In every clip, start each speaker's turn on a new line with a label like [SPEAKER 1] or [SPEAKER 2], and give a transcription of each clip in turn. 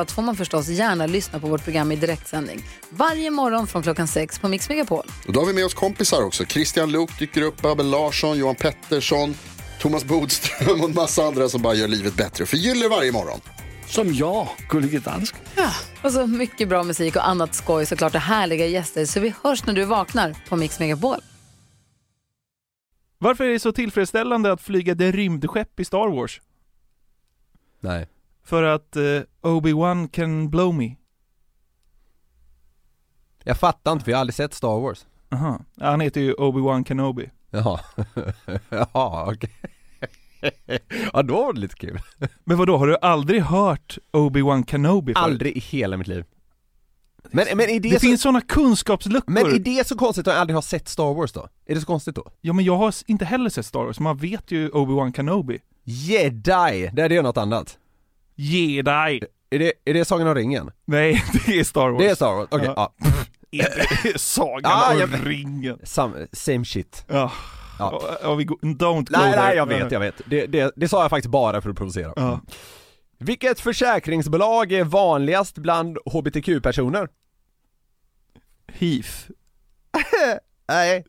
[SPEAKER 1] allt får man förstås gärna lyssna på vårt program i direktsändning. Varje morgon från klockan sex på Mix Megapol.
[SPEAKER 2] Och då har vi med oss kompisar också. Christian Luuk dyker upp, Abel Larsson, Johan Pettersson, Thomas Bodström och en massa andra som bara gör livet bättre och förgyller varje morgon.
[SPEAKER 3] Som jag, Gullige Dansken.
[SPEAKER 1] Och så mycket bra musik och annat skoj såklart och härliga gäster. Så vi hörs när du vaknar på Mix Megapol.
[SPEAKER 4] Varför är det så tillfredsställande att flyga det rymdskepp i Star Wars?
[SPEAKER 5] Nej.
[SPEAKER 4] För att eh, Obi-Wan can blow me.
[SPEAKER 5] Jag fattar inte för jag har aldrig sett Star Wars.
[SPEAKER 4] Aha. Ja, Han heter ju Obi-Wan Kenobi.
[SPEAKER 5] Jaha. Jaha, okej. ja, då var det lite kul.
[SPEAKER 4] Men vadå, har du aldrig hört Obi-Wan Kenobi förut?
[SPEAKER 5] Aldrig i hela mitt liv. Men, men är det,
[SPEAKER 4] Det
[SPEAKER 5] så,
[SPEAKER 4] finns såna kunskapsluckor.
[SPEAKER 5] men är det så konstigt att jag aldrig har sett Star Wars då? Är det så konstigt då?
[SPEAKER 4] Ja men jag har s- inte heller sett Star Wars, man vet ju Obi-Wan Kenobi.
[SPEAKER 5] Jedi! Det är det något annat.
[SPEAKER 4] Jedi!
[SPEAKER 5] Är det, är det Sagan om ringen?
[SPEAKER 4] Nej, det är Star Wars.
[SPEAKER 5] Det är Star Wars, okej,
[SPEAKER 4] Ja.
[SPEAKER 5] ja.
[SPEAKER 4] Det är Sagan
[SPEAKER 5] Ah,
[SPEAKER 4] om
[SPEAKER 5] jag vet.
[SPEAKER 4] ringen.
[SPEAKER 5] Sam, same shit.
[SPEAKER 4] Ja.
[SPEAKER 5] Ja.
[SPEAKER 4] Ja. vi går- don't go
[SPEAKER 5] Nej,
[SPEAKER 4] there.
[SPEAKER 5] nej, jag vet, jag vet. Det, det, det sa jag faktiskt bara för att provocera.
[SPEAKER 4] Ja.
[SPEAKER 5] Vilket försäkringsbolag är vanligast bland hbtq-personer?
[SPEAKER 4] Heath.
[SPEAKER 5] Nej.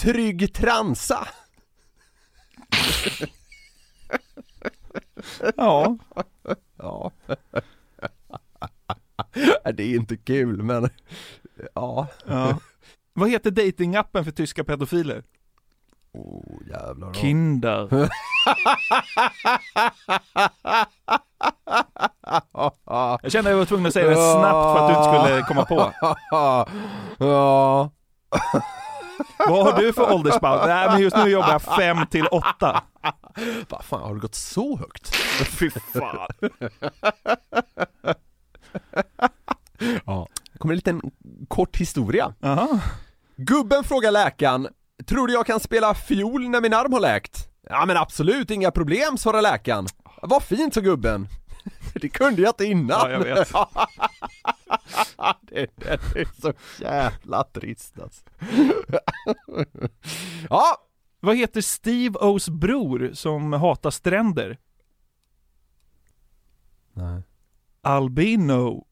[SPEAKER 5] Trygg Transa.
[SPEAKER 4] Ja.
[SPEAKER 5] Ja. Det är inte kul, men ja.
[SPEAKER 4] ja. Vad heter datingappen för tyska pedofiler?
[SPEAKER 5] Oh, jävlar.
[SPEAKER 4] Kinder. Jag kände att jag var tvungen att säga det snabbt för att du inte skulle komma på.
[SPEAKER 5] Ja.
[SPEAKER 4] Vad har du för åldersspann? Nej, men just nu jobbar jag 5 till 8.
[SPEAKER 5] Vad fan, har det gått så högt?
[SPEAKER 4] Fy fan.
[SPEAKER 5] Ja. kommer en liten kort historia.
[SPEAKER 4] Aha.
[SPEAKER 5] Gubben frågar läkaren, tror du jag kan spela fiol när min arm har läkt? Ja men absolut, inga problem, svarar läkaren. Vad fint, sa gubben. Det kunde jag inte innan.
[SPEAKER 4] Ja, jag vet.
[SPEAKER 5] det, det är så jävla trist alltså. Ja,
[SPEAKER 4] Vad heter Steve O's bror som hatar stränder?
[SPEAKER 5] Nej.
[SPEAKER 4] Albino.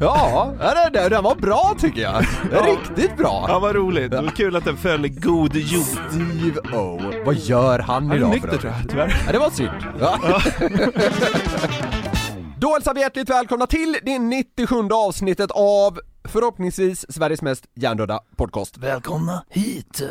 [SPEAKER 5] ja, ja, den, den var bra tycker jag. Riktigt
[SPEAKER 4] Ja,
[SPEAKER 5] bra.
[SPEAKER 4] vad roligt. Det var kul att den föll i god jord.
[SPEAKER 5] Steve O. Vad gör han
[SPEAKER 4] Han är
[SPEAKER 5] idag
[SPEAKER 4] nykter
[SPEAKER 5] övrigt?
[SPEAKER 4] tror jag, tyvärr.
[SPEAKER 5] Ja, det var synd. Ja. Då hälsar vi hjärtligt välkomna till det 97 avsnittet av förhoppningsvis Sveriges mest hjärndöda podcast.
[SPEAKER 4] Välkomna hit.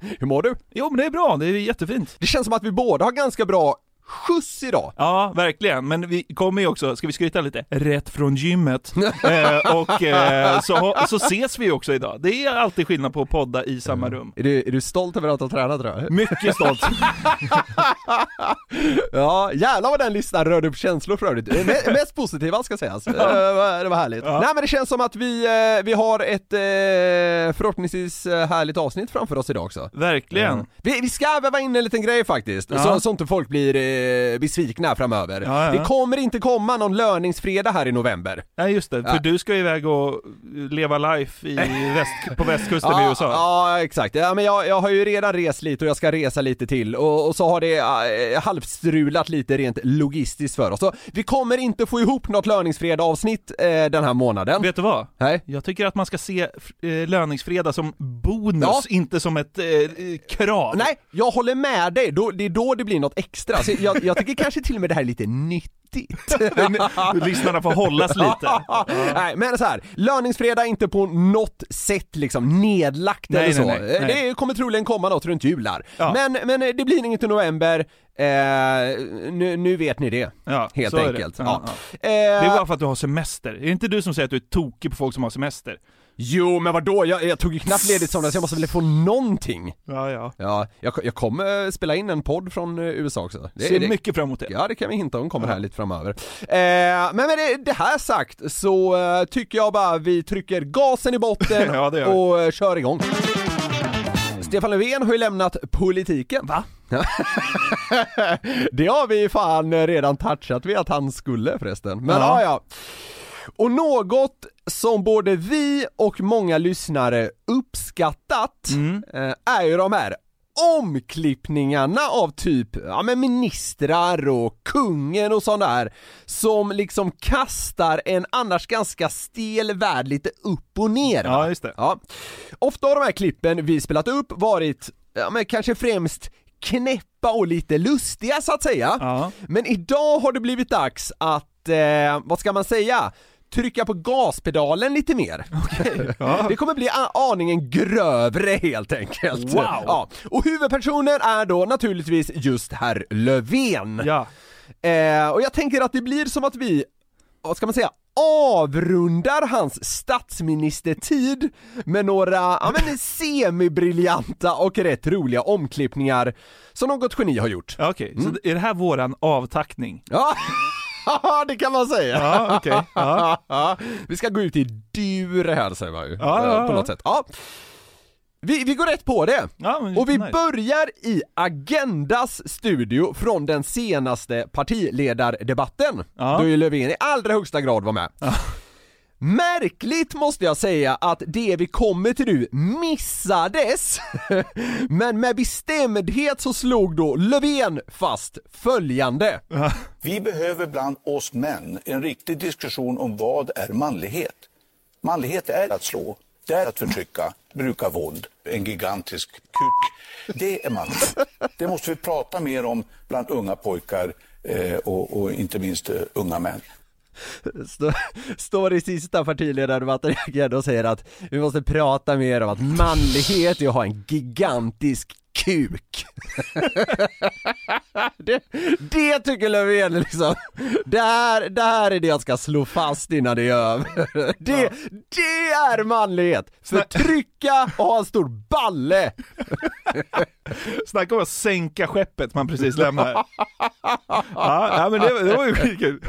[SPEAKER 5] Hur mår du?
[SPEAKER 4] Jo, men det är bra. Det är jättefint.
[SPEAKER 5] Det känns som att vi båda har ganska bra skjuts idag.
[SPEAKER 4] Ja, verkligen. Men vi kommer ju också, ska vi skryta lite, rätt från gymmet. eh, och eh, så, så ses vi ju också idag. Det är alltid skillnad på att podda i samma rum.
[SPEAKER 5] Är du, är du stolt över att ha tränat idag?
[SPEAKER 4] Mycket stolt.
[SPEAKER 5] Ja, jävlar vad den listan rörde upp känslor för övrigt. Eh, me- Mest positiva ska sägas. Eh, va- Det var härligt. Nej men det känns som att vi, eh, vi har ett eh, förhoppningsvis eh, härligt avsnitt framför oss idag också.
[SPEAKER 4] Verkligen.
[SPEAKER 5] Vi, vi ska väva in en liten grej faktiskt,
[SPEAKER 4] Ja.
[SPEAKER 5] så, så inte folk blir eh, besvikna framöver.
[SPEAKER 4] Ja, ja.
[SPEAKER 5] Det kommer inte komma någon löningsfredag här i november.
[SPEAKER 4] Nej just det, för
[SPEAKER 5] Ja.
[SPEAKER 4] du ska ju iväg och leva life i väst, på västkusten i USA.
[SPEAKER 5] ja, exakt. Ja, men jag, jag har ju redan rest lite och jag ska resa lite till och, och så har det eh, halvstrulat lite rent logistiskt för oss. Så vi kommer inte få ihop något löningsfredag avsnitt eh, den här månaden.
[SPEAKER 4] Vet du vad?
[SPEAKER 5] Nej.
[SPEAKER 4] Jag tycker att man ska se eh, löningsfredag som bonus,
[SPEAKER 5] Ja.
[SPEAKER 4] inte som ett eh, eh, krav.
[SPEAKER 5] Nej, jag håller med dig. Då, det är då det blir något extra. Så jag, jag, jag tycker kanske till och med det här är lite nyttigt.
[SPEAKER 4] Lyssnarna får hållas lite.
[SPEAKER 5] Nej men så här, löningsfredag är inte på något sätt liksom nedlagt
[SPEAKER 4] Nej,
[SPEAKER 5] eller så.
[SPEAKER 4] nej, nej,
[SPEAKER 5] Eh,
[SPEAKER 4] nej.
[SPEAKER 5] Det kommer troligen komma något runt jul här.
[SPEAKER 4] Ja.
[SPEAKER 5] Men, men eh, det blir inget i november, eh, nu, nu vet ni det.
[SPEAKER 4] Ja,
[SPEAKER 5] Helt
[SPEAKER 4] så är det.
[SPEAKER 5] enkelt.
[SPEAKER 4] Ja,
[SPEAKER 5] Ja.
[SPEAKER 4] ja.
[SPEAKER 5] Eh,
[SPEAKER 4] Det är bara för att du har semester. Är det inte du som säger att du är tokig på folk som har semester?
[SPEAKER 5] Jo men vadå, jag, jag tog ju knappt ledigt som så jag måste väl få någonting.
[SPEAKER 4] Ja, ja.
[SPEAKER 5] Ja, jag, jag kommer eh, spela in en podd från eh, USA också. Det,
[SPEAKER 4] Ser
[SPEAKER 5] det,
[SPEAKER 4] mycket fram emot det.
[SPEAKER 5] Ja, det kan vi hinta om kommer här lite framöver. Eh, men med det, det här sagt så eh, tycker jag bara vi trycker gasen i botten
[SPEAKER 4] Ja, det gör vi.
[SPEAKER 5] och eh, kör igång. Stefan Löfven har ju lämnat politiken. Va? det har vi fan redan touchat vid att han skulle förresten. Men ja,
[SPEAKER 4] Ja.
[SPEAKER 5] ja. Och något som både vi och många lyssnare uppskattat eh, är ju de här omklippningarna av typ, ja men ministrar och kungen och sånt där som liksom kastar en annars ganska stel värld lite upp och ner. va?
[SPEAKER 4] Ja, just det.
[SPEAKER 5] Ja. Ofta har de här klippen vi spelat upp varit, ja men kanske främst knäppa och lite lustiga så att säga.
[SPEAKER 4] Ja.
[SPEAKER 5] Men idag har det blivit dags att, eh, vad ska man säga? trycka på gaspedalen lite mer. Det kommer bli a- aningen grövre helt enkelt.
[SPEAKER 4] Wow.
[SPEAKER 5] Ja. Och huvudpersonen är då naturligtvis just herr Löfven.
[SPEAKER 4] Ja.
[SPEAKER 5] Eh, och jag tänker att det blir som att vi, vad ska man säga, avrundar hans statsministertid med några, ja men semibriljanta och rätt roliga omklippningar som något geni har gjort.
[SPEAKER 4] Ja, Okej,
[SPEAKER 5] Mm.
[SPEAKER 4] så är det här våran avtackning?
[SPEAKER 5] Ja, det kan man säga.
[SPEAKER 4] Ja, okej. Ja.
[SPEAKER 5] Ja, vi ska gå ut i dur här säger man ju,
[SPEAKER 4] Ja,
[SPEAKER 5] eh,
[SPEAKER 4] ja,
[SPEAKER 5] på
[SPEAKER 4] ja.
[SPEAKER 5] något sätt. Ja. Vi, vi går rätt på det.
[SPEAKER 4] Ja, men
[SPEAKER 5] Och vi
[SPEAKER 4] nice.
[SPEAKER 5] börjar i Agendas studio från den senaste partiledardebatten,
[SPEAKER 4] Ja.
[SPEAKER 5] då ju Löfven i allra högsta grad var med. Märkligt måste jag säga att det vi kommer till nu missades, men med bestämdhet så slog då Löfven fast följande.
[SPEAKER 6] Vi behöver bland oss män en riktig diskussion om vad är manlighet. Manlighet är att slå, det är att förtrycka, bruka våld, en gigantisk kuk. Det är manligt. Det måste vi prata mer om bland unga pojkar eh, och, och inte minst eh, unga män.
[SPEAKER 5] Stå- står i sista partiledardebatten i Agenda och säger att vi måste prata mer om att manlighet är att ha en gigantisk kuk. det, det tycker Löfven är liksom, det här, det här är det jag ska slå fast innan det är över. Det, det är manlighet! Förtrycka och ha en stor balle!
[SPEAKER 4] Snacka om att sänka skeppet man precis lämnar. ja, ja, men det, det var ju skitkul.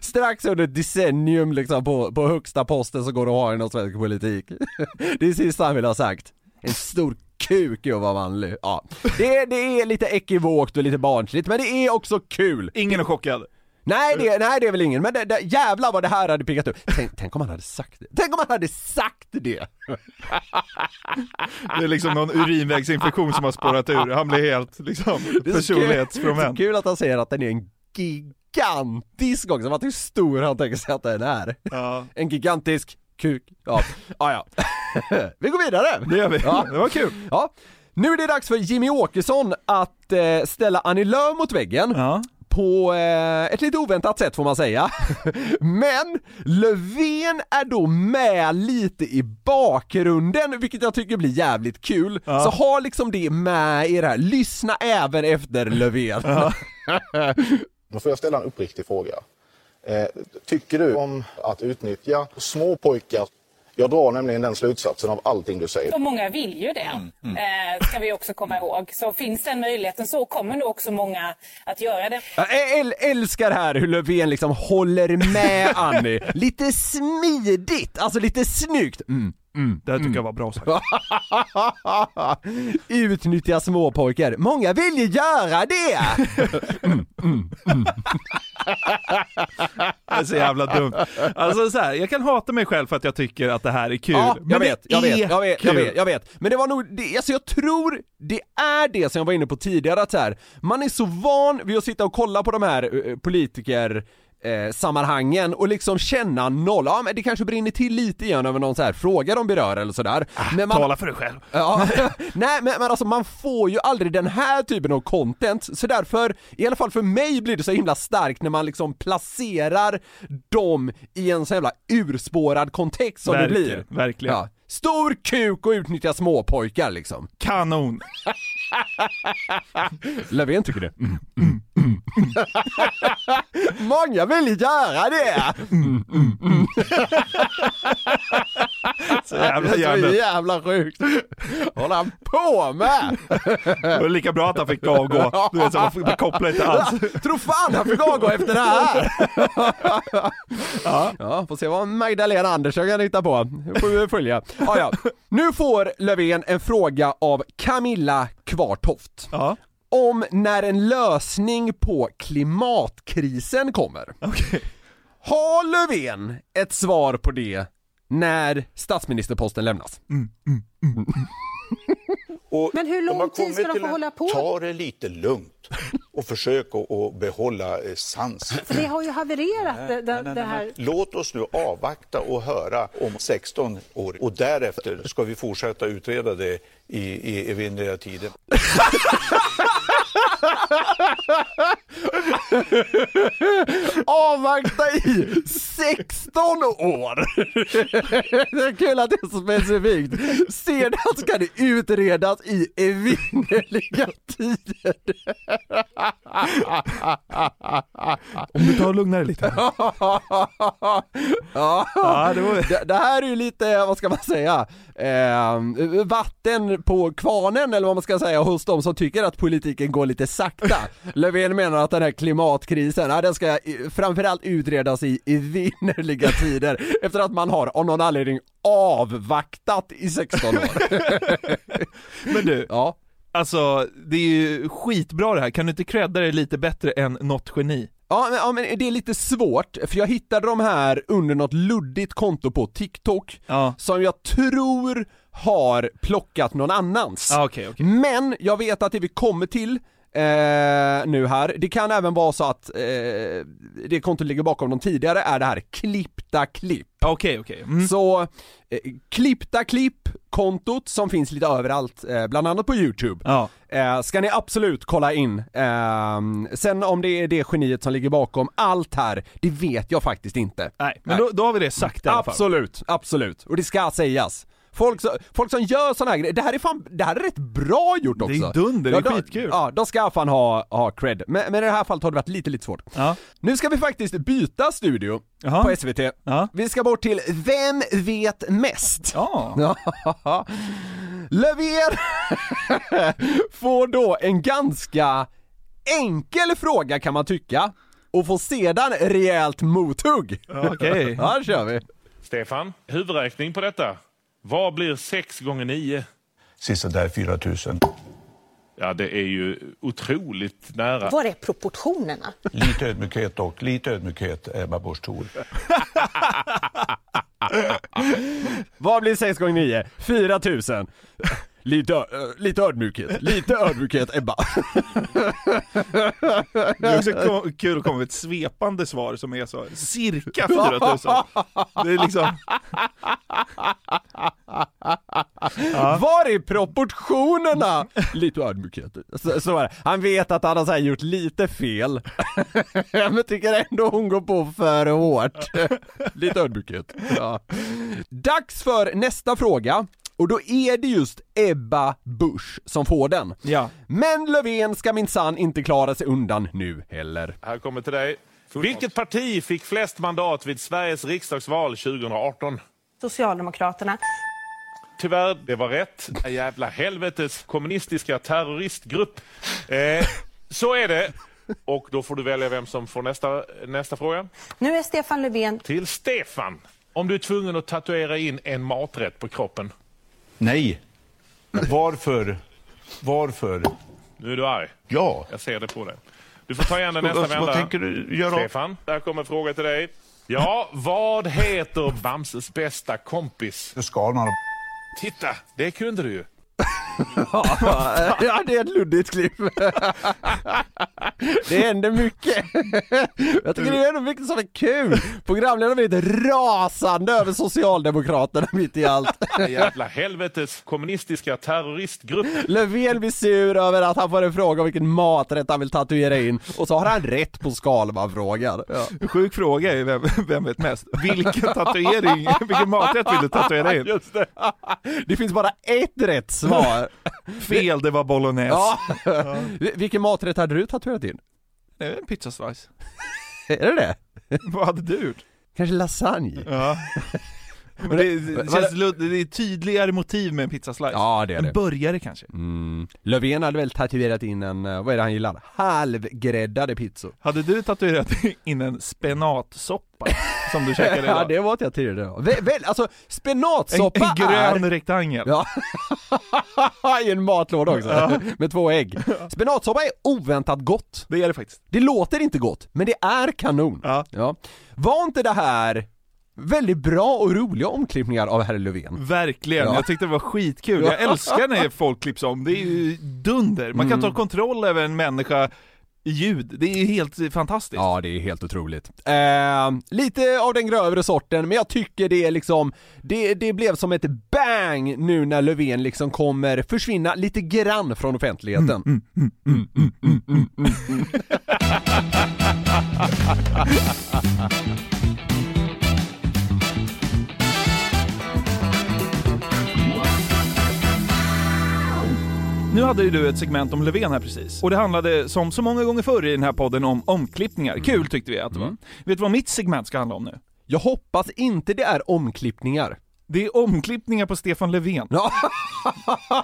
[SPEAKER 5] Strax under ett decennium liksom på, på högsta posten så går det att ha inom svensk politik. Det är sista han vill ha sagt. En stor kuk i att vara manlig. Ja. Det, är- det är lite ekivokt och lite barnsligt men det är också kul.
[SPEAKER 4] Ingen är chockad.
[SPEAKER 5] Nej det, nej, det är väl ingen men det, det, jävlar vad det här hade piggat upp. Tänk, tänk om han hade sagt det. Tänk om han hade sagt det!
[SPEAKER 4] Det är liksom någon urinvägsinfektion som har spårat ur. Han blir helt liksom
[SPEAKER 5] Det är så kul,
[SPEAKER 4] personlighetsfrånvänd.
[SPEAKER 5] kul att han säger att den är en gigantisk också. Vad hur stor han tänker sig att den är.
[SPEAKER 4] Ja,
[SPEAKER 5] En gigantisk kuk. Ja, ah, ja. Vi går vidare!
[SPEAKER 4] det gör vi.
[SPEAKER 5] Ja.
[SPEAKER 4] Det var kul.
[SPEAKER 5] Ja, nu är det dags för Jimmy Åkesson att eh, ställa Annie Lööf mot väggen
[SPEAKER 4] Ja.
[SPEAKER 5] på eh, ett lite oväntat sätt får man säga. Men Löfven är då med lite i bakgrunden, vilket jag tycker blir jävligt kul. Så ha liksom det med i det här, lyssna även efter Löfven.
[SPEAKER 7] Då får jag ställa en uppriktig fråga. Eh, tycker du om att utnyttja små pojkar? Jag drar nämligen den slutsatsen av allting du säger.
[SPEAKER 8] Och många vill ju det, eh, ska vi också komma ihåg. Så finns den möjligheten så kommer nog också många att göra det.
[SPEAKER 5] Jag äl- älskar här hur Löfven liksom håller med Annie. Lite smidigt, alltså lite snyggt. Mm.
[SPEAKER 4] Det här tycker jag var bra sagt.
[SPEAKER 5] Utnyttja småpojkar. Många vill ju göra det!
[SPEAKER 4] Det är så jävla dumt. Alltså så här, jag kan hata mig själv för att jag tycker att det här är kul.
[SPEAKER 5] jag
[SPEAKER 4] men
[SPEAKER 5] vet,
[SPEAKER 4] det
[SPEAKER 5] jag vet,
[SPEAKER 4] är
[SPEAKER 5] jag vet, jag
[SPEAKER 4] kul.
[SPEAKER 5] vet, jag vet. Men det var nog, det, alltså jag tror det är det som jag var inne på tidigare att så här, man är så van vid att sitta och kolla på de här eh, politiker eh, sammanhangen och liksom känna noll, ja men det kanske brinner till lite igen över någon så här fråga de berör eller sådär.
[SPEAKER 4] Ah,
[SPEAKER 5] men man,
[SPEAKER 4] Tala för dig själv.
[SPEAKER 5] Ja, nej men, men alltså man får ju aldrig den här typen av content, så därför, i alla fall för mig blir det så himla starkt när man liksom placerar dem i en så jävla urspårad kontext som det
[SPEAKER 4] Verkligen,
[SPEAKER 5] blir.
[SPEAKER 4] verkligen.
[SPEAKER 5] Ja. Stor kuk och utnyttja småpojkar liksom.
[SPEAKER 4] Kanon.
[SPEAKER 5] Löfven tycker det. Många vill göra det!
[SPEAKER 4] Så jävla
[SPEAKER 5] Det är så
[SPEAKER 4] jävla.
[SPEAKER 5] jävla sjukt. Håller han på med?
[SPEAKER 4] Det var lika bra att han fick avgå. Du vet, så man kopplar inte alls.
[SPEAKER 5] Tror fan han fick avgå efter det här! ja. får se vad Magdalena Andersson kan hitta på. Det får vi följa. Ja, ja. Nu får Löfven en fråga av Camilla Kvartoft.
[SPEAKER 4] Ja.
[SPEAKER 5] Om när en lösning på klimatkrisen kommer.
[SPEAKER 4] Okej.
[SPEAKER 5] Har Löfven ett svar på det när statsministerposten lämnas?
[SPEAKER 6] Och
[SPEAKER 9] Men hur lång
[SPEAKER 6] de har
[SPEAKER 9] tid
[SPEAKER 6] kommit
[SPEAKER 9] ska de
[SPEAKER 6] till
[SPEAKER 9] få
[SPEAKER 6] en-
[SPEAKER 9] hålla på?
[SPEAKER 6] Ta det lite lugnt och försök att, att behålla eh, sansen.
[SPEAKER 9] Det har ju havererat det, det, det här.
[SPEAKER 6] Låt oss nu avvakta och höra om 16 år och därefter ska vi fortsätta utreda det i, i evinnerliga tider.
[SPEAKER 5] avvakta i 16 år! Det är kul att det är så specifikt. Sedan ska det utredas i evinnerliga tider.
[SPEAKER 4] Om du tar och lugnar dig lite.
[SPEAKER 5] Ja, det, det, här är ju lite, vad ska man säga, eh, vatten på kvarnen eller vad man ska säga hos de som tycker att politiken går lite sakta. Löfven menar att den här klimatkrisen, ja, den ska eh, framförallt utredas i evinnerliga tider efter att man har av någon anledning avvaktat i 16 år.
[SPEAKER 4] Men du,
[SPEAKER 5] Ja.
[SPEAKER 4] alltså det är ju skitbra det här. Kan du inte credda dig lite bättre än något geni?
[SPEAKER 5] Ja men, ja men det är lite svårt, för jag hittade de här under något luddigt konto på TikTok
[SPEAKER 4] Ja.
[SPEAKER 5] som jag tror har plockat någon annans.
[SPEAKER 4] Ja, Ah, okej, okej.
[SPEAKER 5] Men jag vet att det vi kommer till eh, nu här, det kan även vara så att eh, det kontot ligger bakom de tidigare är det här klippta klipp.
[SPEAKER 4] Okej, okej. Mm.
[SPEAKER 5] Så, eh, klippta klipp-kontot som finns lite överallt, eh, bland annat på YouTube.
[SPEAKER 4] Ja.
[SPEAKER 5] Eh, ska ni absolut kolla in. Ehm, sen om det är det geniet som ligger bakom allt här, det vet jag faktiskt inte.
[SPEAKER 4] Nej, men då, då har vi det sagt i alla fall.
[SPEAKER 5] Absolut, absolut. Och det ska sägas. Folk, som- folk som gör såna här grejer, det här är fan, det här är rätt bra gjort också.
[SPEAKER 4] är dunder, det är
[SPEAKER 5] de-
[SPEAKER 4] skitkul.
[SPEAKER 5] Ja, de ska fan ha, ha cred. Men, men i det här fallet har det varit lite, lite svårt.
[SPEAKER 4] Ja.
[SPEAKER 5] Nu ska vi faktiskt byta studio
[SPEAKER 4] Jaha.
[SPEAKER 5] på SVT.
[SPEAKER 4] Ja.
[SPEAKER 5] Vi ska bort till Vem vet mest?
[SPEAKER 4] Ja.
[SPEAKER 5] Ja. Löfven får då en ganska enkel fråga kan man tycka och får sedan rejält mothugg.
[SPEAKER 4] Ja, Okej.
[SPEAKER 5] Ja, det kör vi.
[SPEAKER 10] Stefan, huvudräkning på detta. Vad blir 6 gånger 9?
[SPEAKER 6] Sista där 4 000.
[SPEAKER 10] Ja, det är ju otroligt nära.
[SPEAKER 9] Var är proportionerna?
[SPEAKER 6] Lite ödmjukhet dock, lite ödmjukhet Ebba Busch Thor.
[SPEAKER 5] Vad blir 6 gånger 9? 4000. Lite, ö- lite ödmjukhet, lite ödmjukhet Ebba.
[SPEAKER 4] Det är också ko- kul att komma med ett svepande svar som är så cirka 4000. Det är liksom,
[SPEAKER 5] Var är proportionerna? Lite ödmjukhet. Så, så är det. Han vet att han har så här gjort lite fel. Men tycker ändå hon går på för hårt. Lite ödmjukhet. Ja. Dags för nästa fråga. Och då är det just Ebba Busch som får den.
[SPEAKER 4] Ja.
[SPEAKER 5] Men Löfven ska minsann inte klara sig undan nu heller.
[SPEAKER 10] Här kommer till dig. Vilket parti fick flest mandat vid Sveriges riksdagsval 2018?
[SPEAKER 9] Socialdemokraterna.
[SPEAKER 10] Tyvärr, det var rätt. Den Jävla helvetes kommunistiska terroristgrupp. Eh, så är det. Och då får du välja vem som får nästa, nästa fråga.
[SPEAKER 9] Nu är Stefan Löfven
[SPEAKER 10] Till Stefan. Om du är tvungen att tatuera in en maträtt på kroppen.
[SPEAKER 6] Nej. Varför? Varför?
[SPEAKER 10] Nu är du arg.
[SPEAKER 6] Ja.
[SPEAKER 10] Jag ser det på dig. Du får ta igen det nästa
[SPEAKER 6] Vad-
[SPEAKER 10] vända.
[SPEAKER 6] vad tänker du göra?
[SPEAKER 10] Stefan, där kommer en fråga till dig. Ja, vad heter Bamses bästa kompis?
[SPEAKER 6] Skalman
[SPEAKER 10] Titta, det kunde du ju.
[SPEAKER 5] ja, det är ett luddigt klipp. det händer mycket. Jag tycker det är ändå mycket som är kul. Programledaren har blivit rasande över Socialdemokraterna mitt i allt.
[SPEAKER 10] Jävla helvetes kommunistiska terroristgrupp.
[SPEAKER 5] Löfven blir sur över att han får en fråga om vilken maträtt han vill tatuera in och så har han rätt på Skalman-frågan. Ja.
[SPEAKER 4] Sjuk fråga är ju vem, vem vet mest? Vilken tatuering, vilken maträtt vill du tatuera in?
[SPEAKER 5] Just det. det finns bara ett rätt svar.
[SPEAKER 4] Fel, det var bolognese.
[SPEAKER 5] Ja.
[SPEAKER 10] Alltså.
[SPEAKER 5] Vil- Vilken maträtt hade du tatuerat in?
[SPEAKER 4] Det är en pizzaslice.
[SPEAKER 5] Är det det?
[SPEAKER 4] Vad hade du gjort?
[SPEAKER 5] Kanske lasagne?
[SPEAKER 4] Ja. Men det, det, känns, ludd- det är tydligare motiv med en pizzaslice.
[SPEAKER 5] Ja, det är det.
[SPEAKER 4] En burgare kanske.
[SPEAKER 5] Mm. Löfven hade väl tatuerat in en, eh, vad är det han gillar? Halvgräddade pizzor.
[SPEAKER 4] Hade du tatuerat in en spenatsoppa som du käkade
[SPEAKER 5] Ja
[SPEAKER 4] idag?
[SPEAKER 5] det var jag tidigare idag. Väl, väl, alltså
[SPEAKER 4] En,
[SPEAKER 5] spenatsoppa
[SPEAKER 4] en grön
[SPEAKER 5] är...
[SPEAKER 4] rektangel.
[SPEAKER 5] Ja. I en matlåda också. Med två ägg. Spenatsoppa är oväntat gott.
[SPEAKER 4] Det är det faktiskt.
[SPEAKER 5] Det låter inte gott, men det är kanon.
[SPEAKER 4] Ja.
[SPEAKER 5] Var inte det här väldigt bra och roliga omklippningar av herr Löfven?
[SPEAKER 4] Verkligen,
[SPEAKER 5] Ja.
[SPEAKER 4] jag tyckte det var skitkul. Jag älskar när folk klipps om, det är ju dunder. Man
[SPEAKER 5] Mm.
[SPEAKER 4] kan ta kontroll över en människa i ljud, det är ju helt fantastiskt.
[SPEAKER 5] Ja, det är helt otroligt. Eh, lite av den grövre sorten, men jag tycker det är liksom, det, det blev som ett bang nu när Löfven liksom kommer försvinna lite grann från offentligheten.
[SPEAKER 4] Mm, Nu hade ju du ett segment om Löfven här precis. Och det handlade, som så många gånger förr i den här podden, om omklippningar.
[SPEAKER 5] Mm.
[SPEAKER 4] Kul tyckte vi att det var. Vet du vad mitt segment ska handla om nu?
[SPEAKER 5] Jag hoppas inte det är omklippningar.
[SPEAKER 4] Det är omklippningar på Stefan Löfven.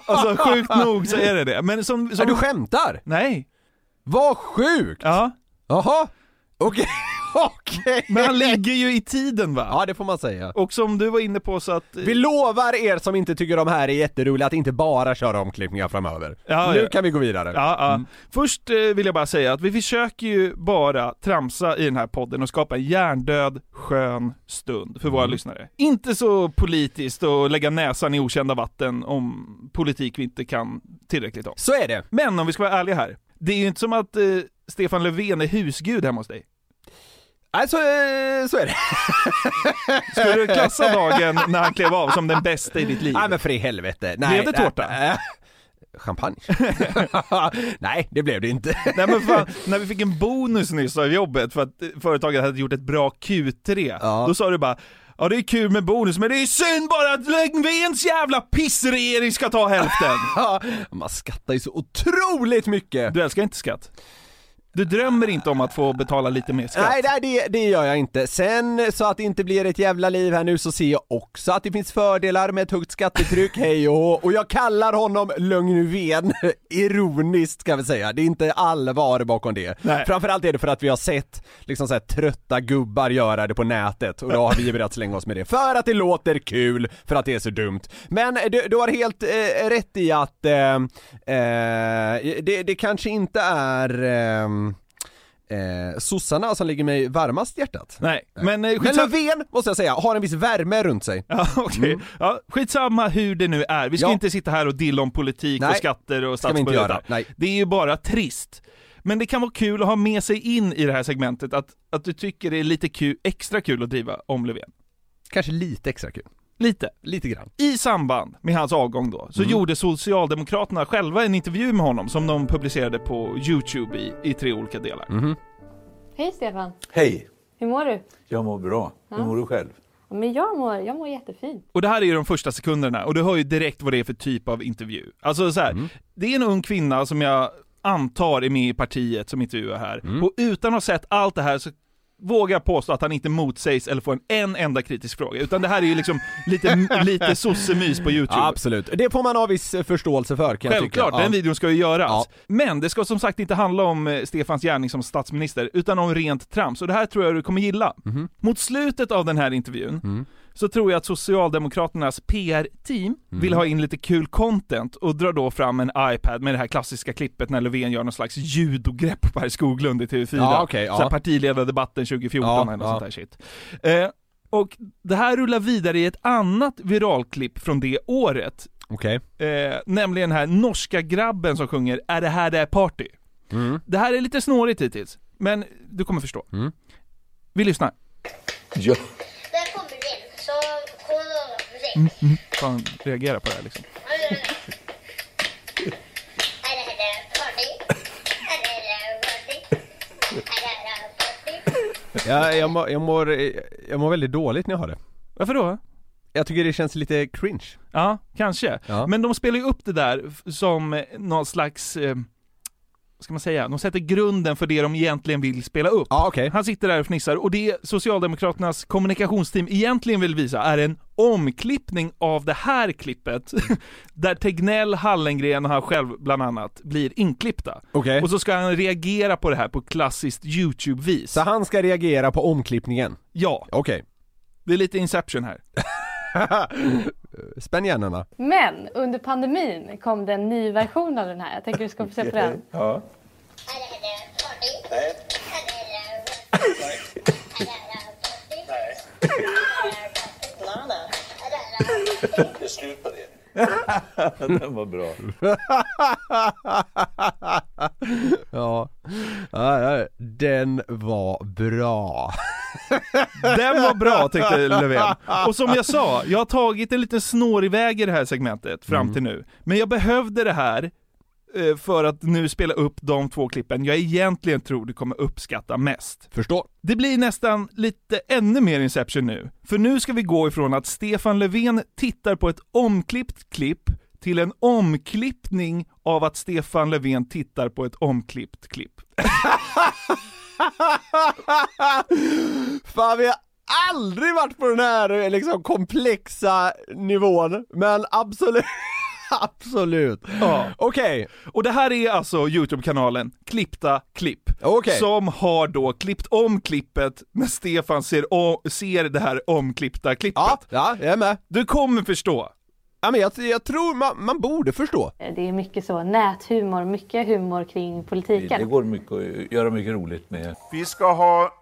[SPEAKER 4] Alltså sjukt nog så är det det. Men som...
[SPEAKER 5] Ja,
[SPEAKER 4] som...
[SPEAKER 5] du skämtar?
[SPEAKER 4] Nej.
[SPEAKER 5] Vad sjukt!
[SPEAKER 4] Ja.
[SPEAKER 5] Jaha, okej, okej!
[SPEAKER 4] Men han ligger ju i tiden va?
[SPEAKER 5] Ja, det får man säga.
[SPEAKER 4] Och som du var inne på så att...
[SPEAKER 5] Vi lovar er som inte tycker de här är jätteroliga att inte bara köra omklippningar framöver.
[SPEAKER 4] Ja,
[SPEAKER 5] nu
[SPEAKER 4] ja.
[SPEAKER 5] kan vi gå vidare.
[SPEAKER 4] Ja, ja.
[SPEAKER 5] Mm.
[SPEAKER 4] Först eh, vill jag bara säga att vi försöker ju bara tramsa i den här podden och skapa en hjärndöd skön stund för våra
[SPEAKER 5] Mm.
[SPEAKER 4] lyssnare. Inte så politiskt och lägga näsan i okända vatten om politik vi inte kan tillräckligt om.
[SPEAKER 5] Så är det.
[SPEAKER 4] Men om vi ska vara ärliga här, det är ju inte som att eh, Stefan Löfven är husgud hemma hos dig.
[SPEAKER 5] Alltså, eh, så är det.
[SPEAKER 4] Skulle du klassa dagen när han klev av som den bästa i ditt liv?
[SPEAKER 5] Nej men för i helvete. Nej,
[SPEAKER 4] Blev det
[SPEAKER 5] nej,
[SPEAKER 4] tårta?
[SPEAKER 5] nej. Champagne? nej, det blev det inte.
[SPEAKER 4] Nej men fan, när vi fick en bonus nyss av jobbet för att eh, företaget hade gjort ett bra Q3,
[SPEAKER 5] Ja.
[SPEAKER 4] då sa du bara Ja det är kul med bonus men det är synd bara att Löfvens jävla pissregering ska ta hälften!
[SPEAKER 5] Ja, Man skattar ju så otroligt mycket!
[SPEAKER 4] Du älskar inte skatt? Du drömmer inte om att få betala lite mer skatt?
[SPEAKER 5] Nej, nej det, det gör jag inte. Sen så att det inte blir ett jävla liv här nu så ser jag också att det finns fördelar med ett högt skattetryck, hej och hå. Och jag kallar honom Lögnuven, ironiskt ska vi säga. Det är inte allvar bakom det.
[SPEAKER 4] Nej.
[SPEAKER 5] Framförallt är det för att vi har sett liksom så här, trötta gubbar göra det på nätet och då har vi börjat slänga oss med det. För att det låter kul, för att det är så dumt. Men eh, du, du har helt eh, rätt i att eh, eh, det, det kanske inte är ehm, eh, sossarna som ligger mig varmast i hjärtat.
[SPEAKER 4] Nej, men eh,
[SPEAKER 5] Men
[SPEAKER 4] skitsamma,
[SPEAKER 5] Löfven, måste jag säga, har en viss värme runt sig.
[SPEAKER 4] ja, okej. ja, skitsamma hur det nu är, vi ska
[SPEAKER 5] Mm. Ja.
[SPEAKER 4] inte sitta här och dilla om politik
[SPEAKER 5] Nej,
[SPEAKER 4] och skatter och
[SPEAKER 5] ska vi inte
[SPEAKER 4] statsbudgetar.
[SPEAKER 5] göra. Nej.
[SPEAKER 4] Det är ju bara trist. Men det kan vara kul att ha med sig in i det här segmentet, att, att du tycker det är lite kul, extra kul att driva om Löfven.
[SPEAKER 5] Kanske lite extra kul.
[SPEAKER 4] Lite.
[SPEAKER 5] Lite grann.
[SPEAKER 4] I samband med hans avgång då, så gjorde Socialdemokraterna själva en intervju med honom som de publicerade på Youtube i, i tre olika delar.
[SPEAKER 11] Hej Stefan!
[SPEAKER 6] Hej,
[SPEAKER 11] Hur mår du?
[SPEAKER 6] jag mår bra. Hur mår du själv?
[SPEAKER 11] Ja, Men jag, mår, jag mår jättefint.
[SPEAKER 4] Och det här är ju de första sekunderna och du hör ju direkt vad det är för typ av intervju. Alltså så här, det är en ung kvinna som jag antar är med i partiet som intervjuar här och utan att ha sett allt det här så vågar jag påstå att han inte motsägs eller får en, en enda kritisk fråga utan det här är ju liksom lite, lite sossemys på Youtube.
[SPEAKER 5] absolut. Det får man ha viss eh, förståelse för kan
[SPEAKER 4] Självklart,
[SPEAKER 5] jag
[SPEAKER 4] den
[SPEAKER 5] tycka.
[SPEAKER 4] videon ska ju göras.
[SPEAKER 5] Ja.
[SPEAKER 4] Men det ska som sagt inte handla om eh, Stefans gärning som statsminister, utan om rent trams. Och det här tror jag du kommer gilla.
[SPEAKER 5] Mhm.
[SPEAKER 4] Mot slutet av den här intervjun,
[SPEAKER 5] Mm.
[SPEAKER 4] så tror jag att Socialdemokraternas PR-team
[SPEAKER 5] Mm.
[SPEAKER 4] vill ha in lite kul content och drar då fram en iPad med det här klassiska klippet när Löfven gör någon slags judogrepp på herr Skoglund i TV4.
[SPEAKER 5] Ja, okej, ja.
[SPEAKER 4] Så här partiledardebatten 2014
[SPEAKER 5] Ja,
[SPEAKER 4] eller något
[SPEAKER 5] ja.
[SPEAKER 4] sånt där shit. Eh, och det här rullar vidare i ett annat viralklipp från det året
[SPEAKER 5] Okej.
[SPEAKER 4] Eh, nämligen den här norska grabben som sjunger Är det här det är party?
[SPEAKER 5] Mm.
[SPEAKER 4] Det här är lite snårigt hittills, men du kommer förstå. Vi lyssnar. Ja.
[SPEAKER 12] Där kommer det in. Så kom ihåg att det
[SPEAKER 4] Mm, mm. Fan, reagera på det här liksom.
[SPEAKER 5] Jag, jag, mår, jag, mår, eh, jag mår väldigt dåligt när jag hör det.
[SPEAKER 4] Varför då?
[SPEAKER 5] Jag tycker det känns lite cringe.
[SPEAKER 4] Ja, kanske. Men de spelar ju upp det där f- som eh, någon slags, eh, vad ska man säga, de sätter grunden för det de egentligen vill spela upp. Han sitter där och fnissar och det Socialdemokraternas kommunikationsteam egentligen vill visa är en omklippning av det här klippet
[SPEAKER 5] Mm.
[SPEAKER 4] där Tegnell, Hallengren och han själv bland annat blir inklippta.
[SPEAKER 5] Okej.
[SPEAKER 4] Och så ska han reagera på det här på klassiskt YouTube-vis. Så
[SPEAKER 5] han ska reagera på omklippningen?
[SPEAKER 4] Ja.
[SPEAKER 5] Okej.
[SPEAKER 4] Det är lite Inception här.
[SPEAKER 5] Spänn hjärnorna.
[SPEAKER 11] Men under pandemin kom det en ny version av den här. Jag tänker du ska få se på den.
[SPEAKER 4] Ja.
[SPEAKER 12] är slut på det.
[SPEAKER 13] Den var bra.
[SPEAKER 5] ja. Ja, ja, den var bra.
[SPEAKER 4] Den var bra tyckte Löfven. Och som jag sa, jag har tagit en lite snårig väg i det här segmentet fram till
[SPEAKER 5] Mm.
[SPEAKER 4] nu. Men jag behövde det här eh, för att nu spela upp de två klippen jag egentligen tror du kommer uppskatta mest.
[SPEAKER 5] Förstår.
[SPEAKER 4] Det blir nästan lite ännu mer Inception nu. För nu ska vi gå ifrån att Stefan Löfven tittar på ett omklippt klipp till en omklippning av att Stefan Löfven tittar på ett omklippt klipp.
[SPEAKER 5] Fan vi har aldrig varit på den här liksom komplexa nivån, men absolut, absolut.
[SPEAKER 4] Ja.
[SPEAKER 5] Okej.
[SPEAKER 4] Och det här är alltså Youtube-kanalen Klippta klipp.
[SPEAKER 5] Okej.
[SPEAKER 4] Som har då klippt om klippet när Stefan ser, o- ser det här omklippta klippet. Ja,
[SPEAKER 5] ja, jag är med.
[SPEAKER 4] Du kommer förstå.
[SPEAKER 5] Ja men jag, jag tror man, man borde förstå.
[SPEAKER 11] Eh, Det är mycket så näthumor, mycket humor kring
[SPEAKER 13] Det
[SPEAKER 11] politiken.
[SPEAKER 13] går mycket att göra mycket roligt med.
[SPEAKER 14] Vi ska ha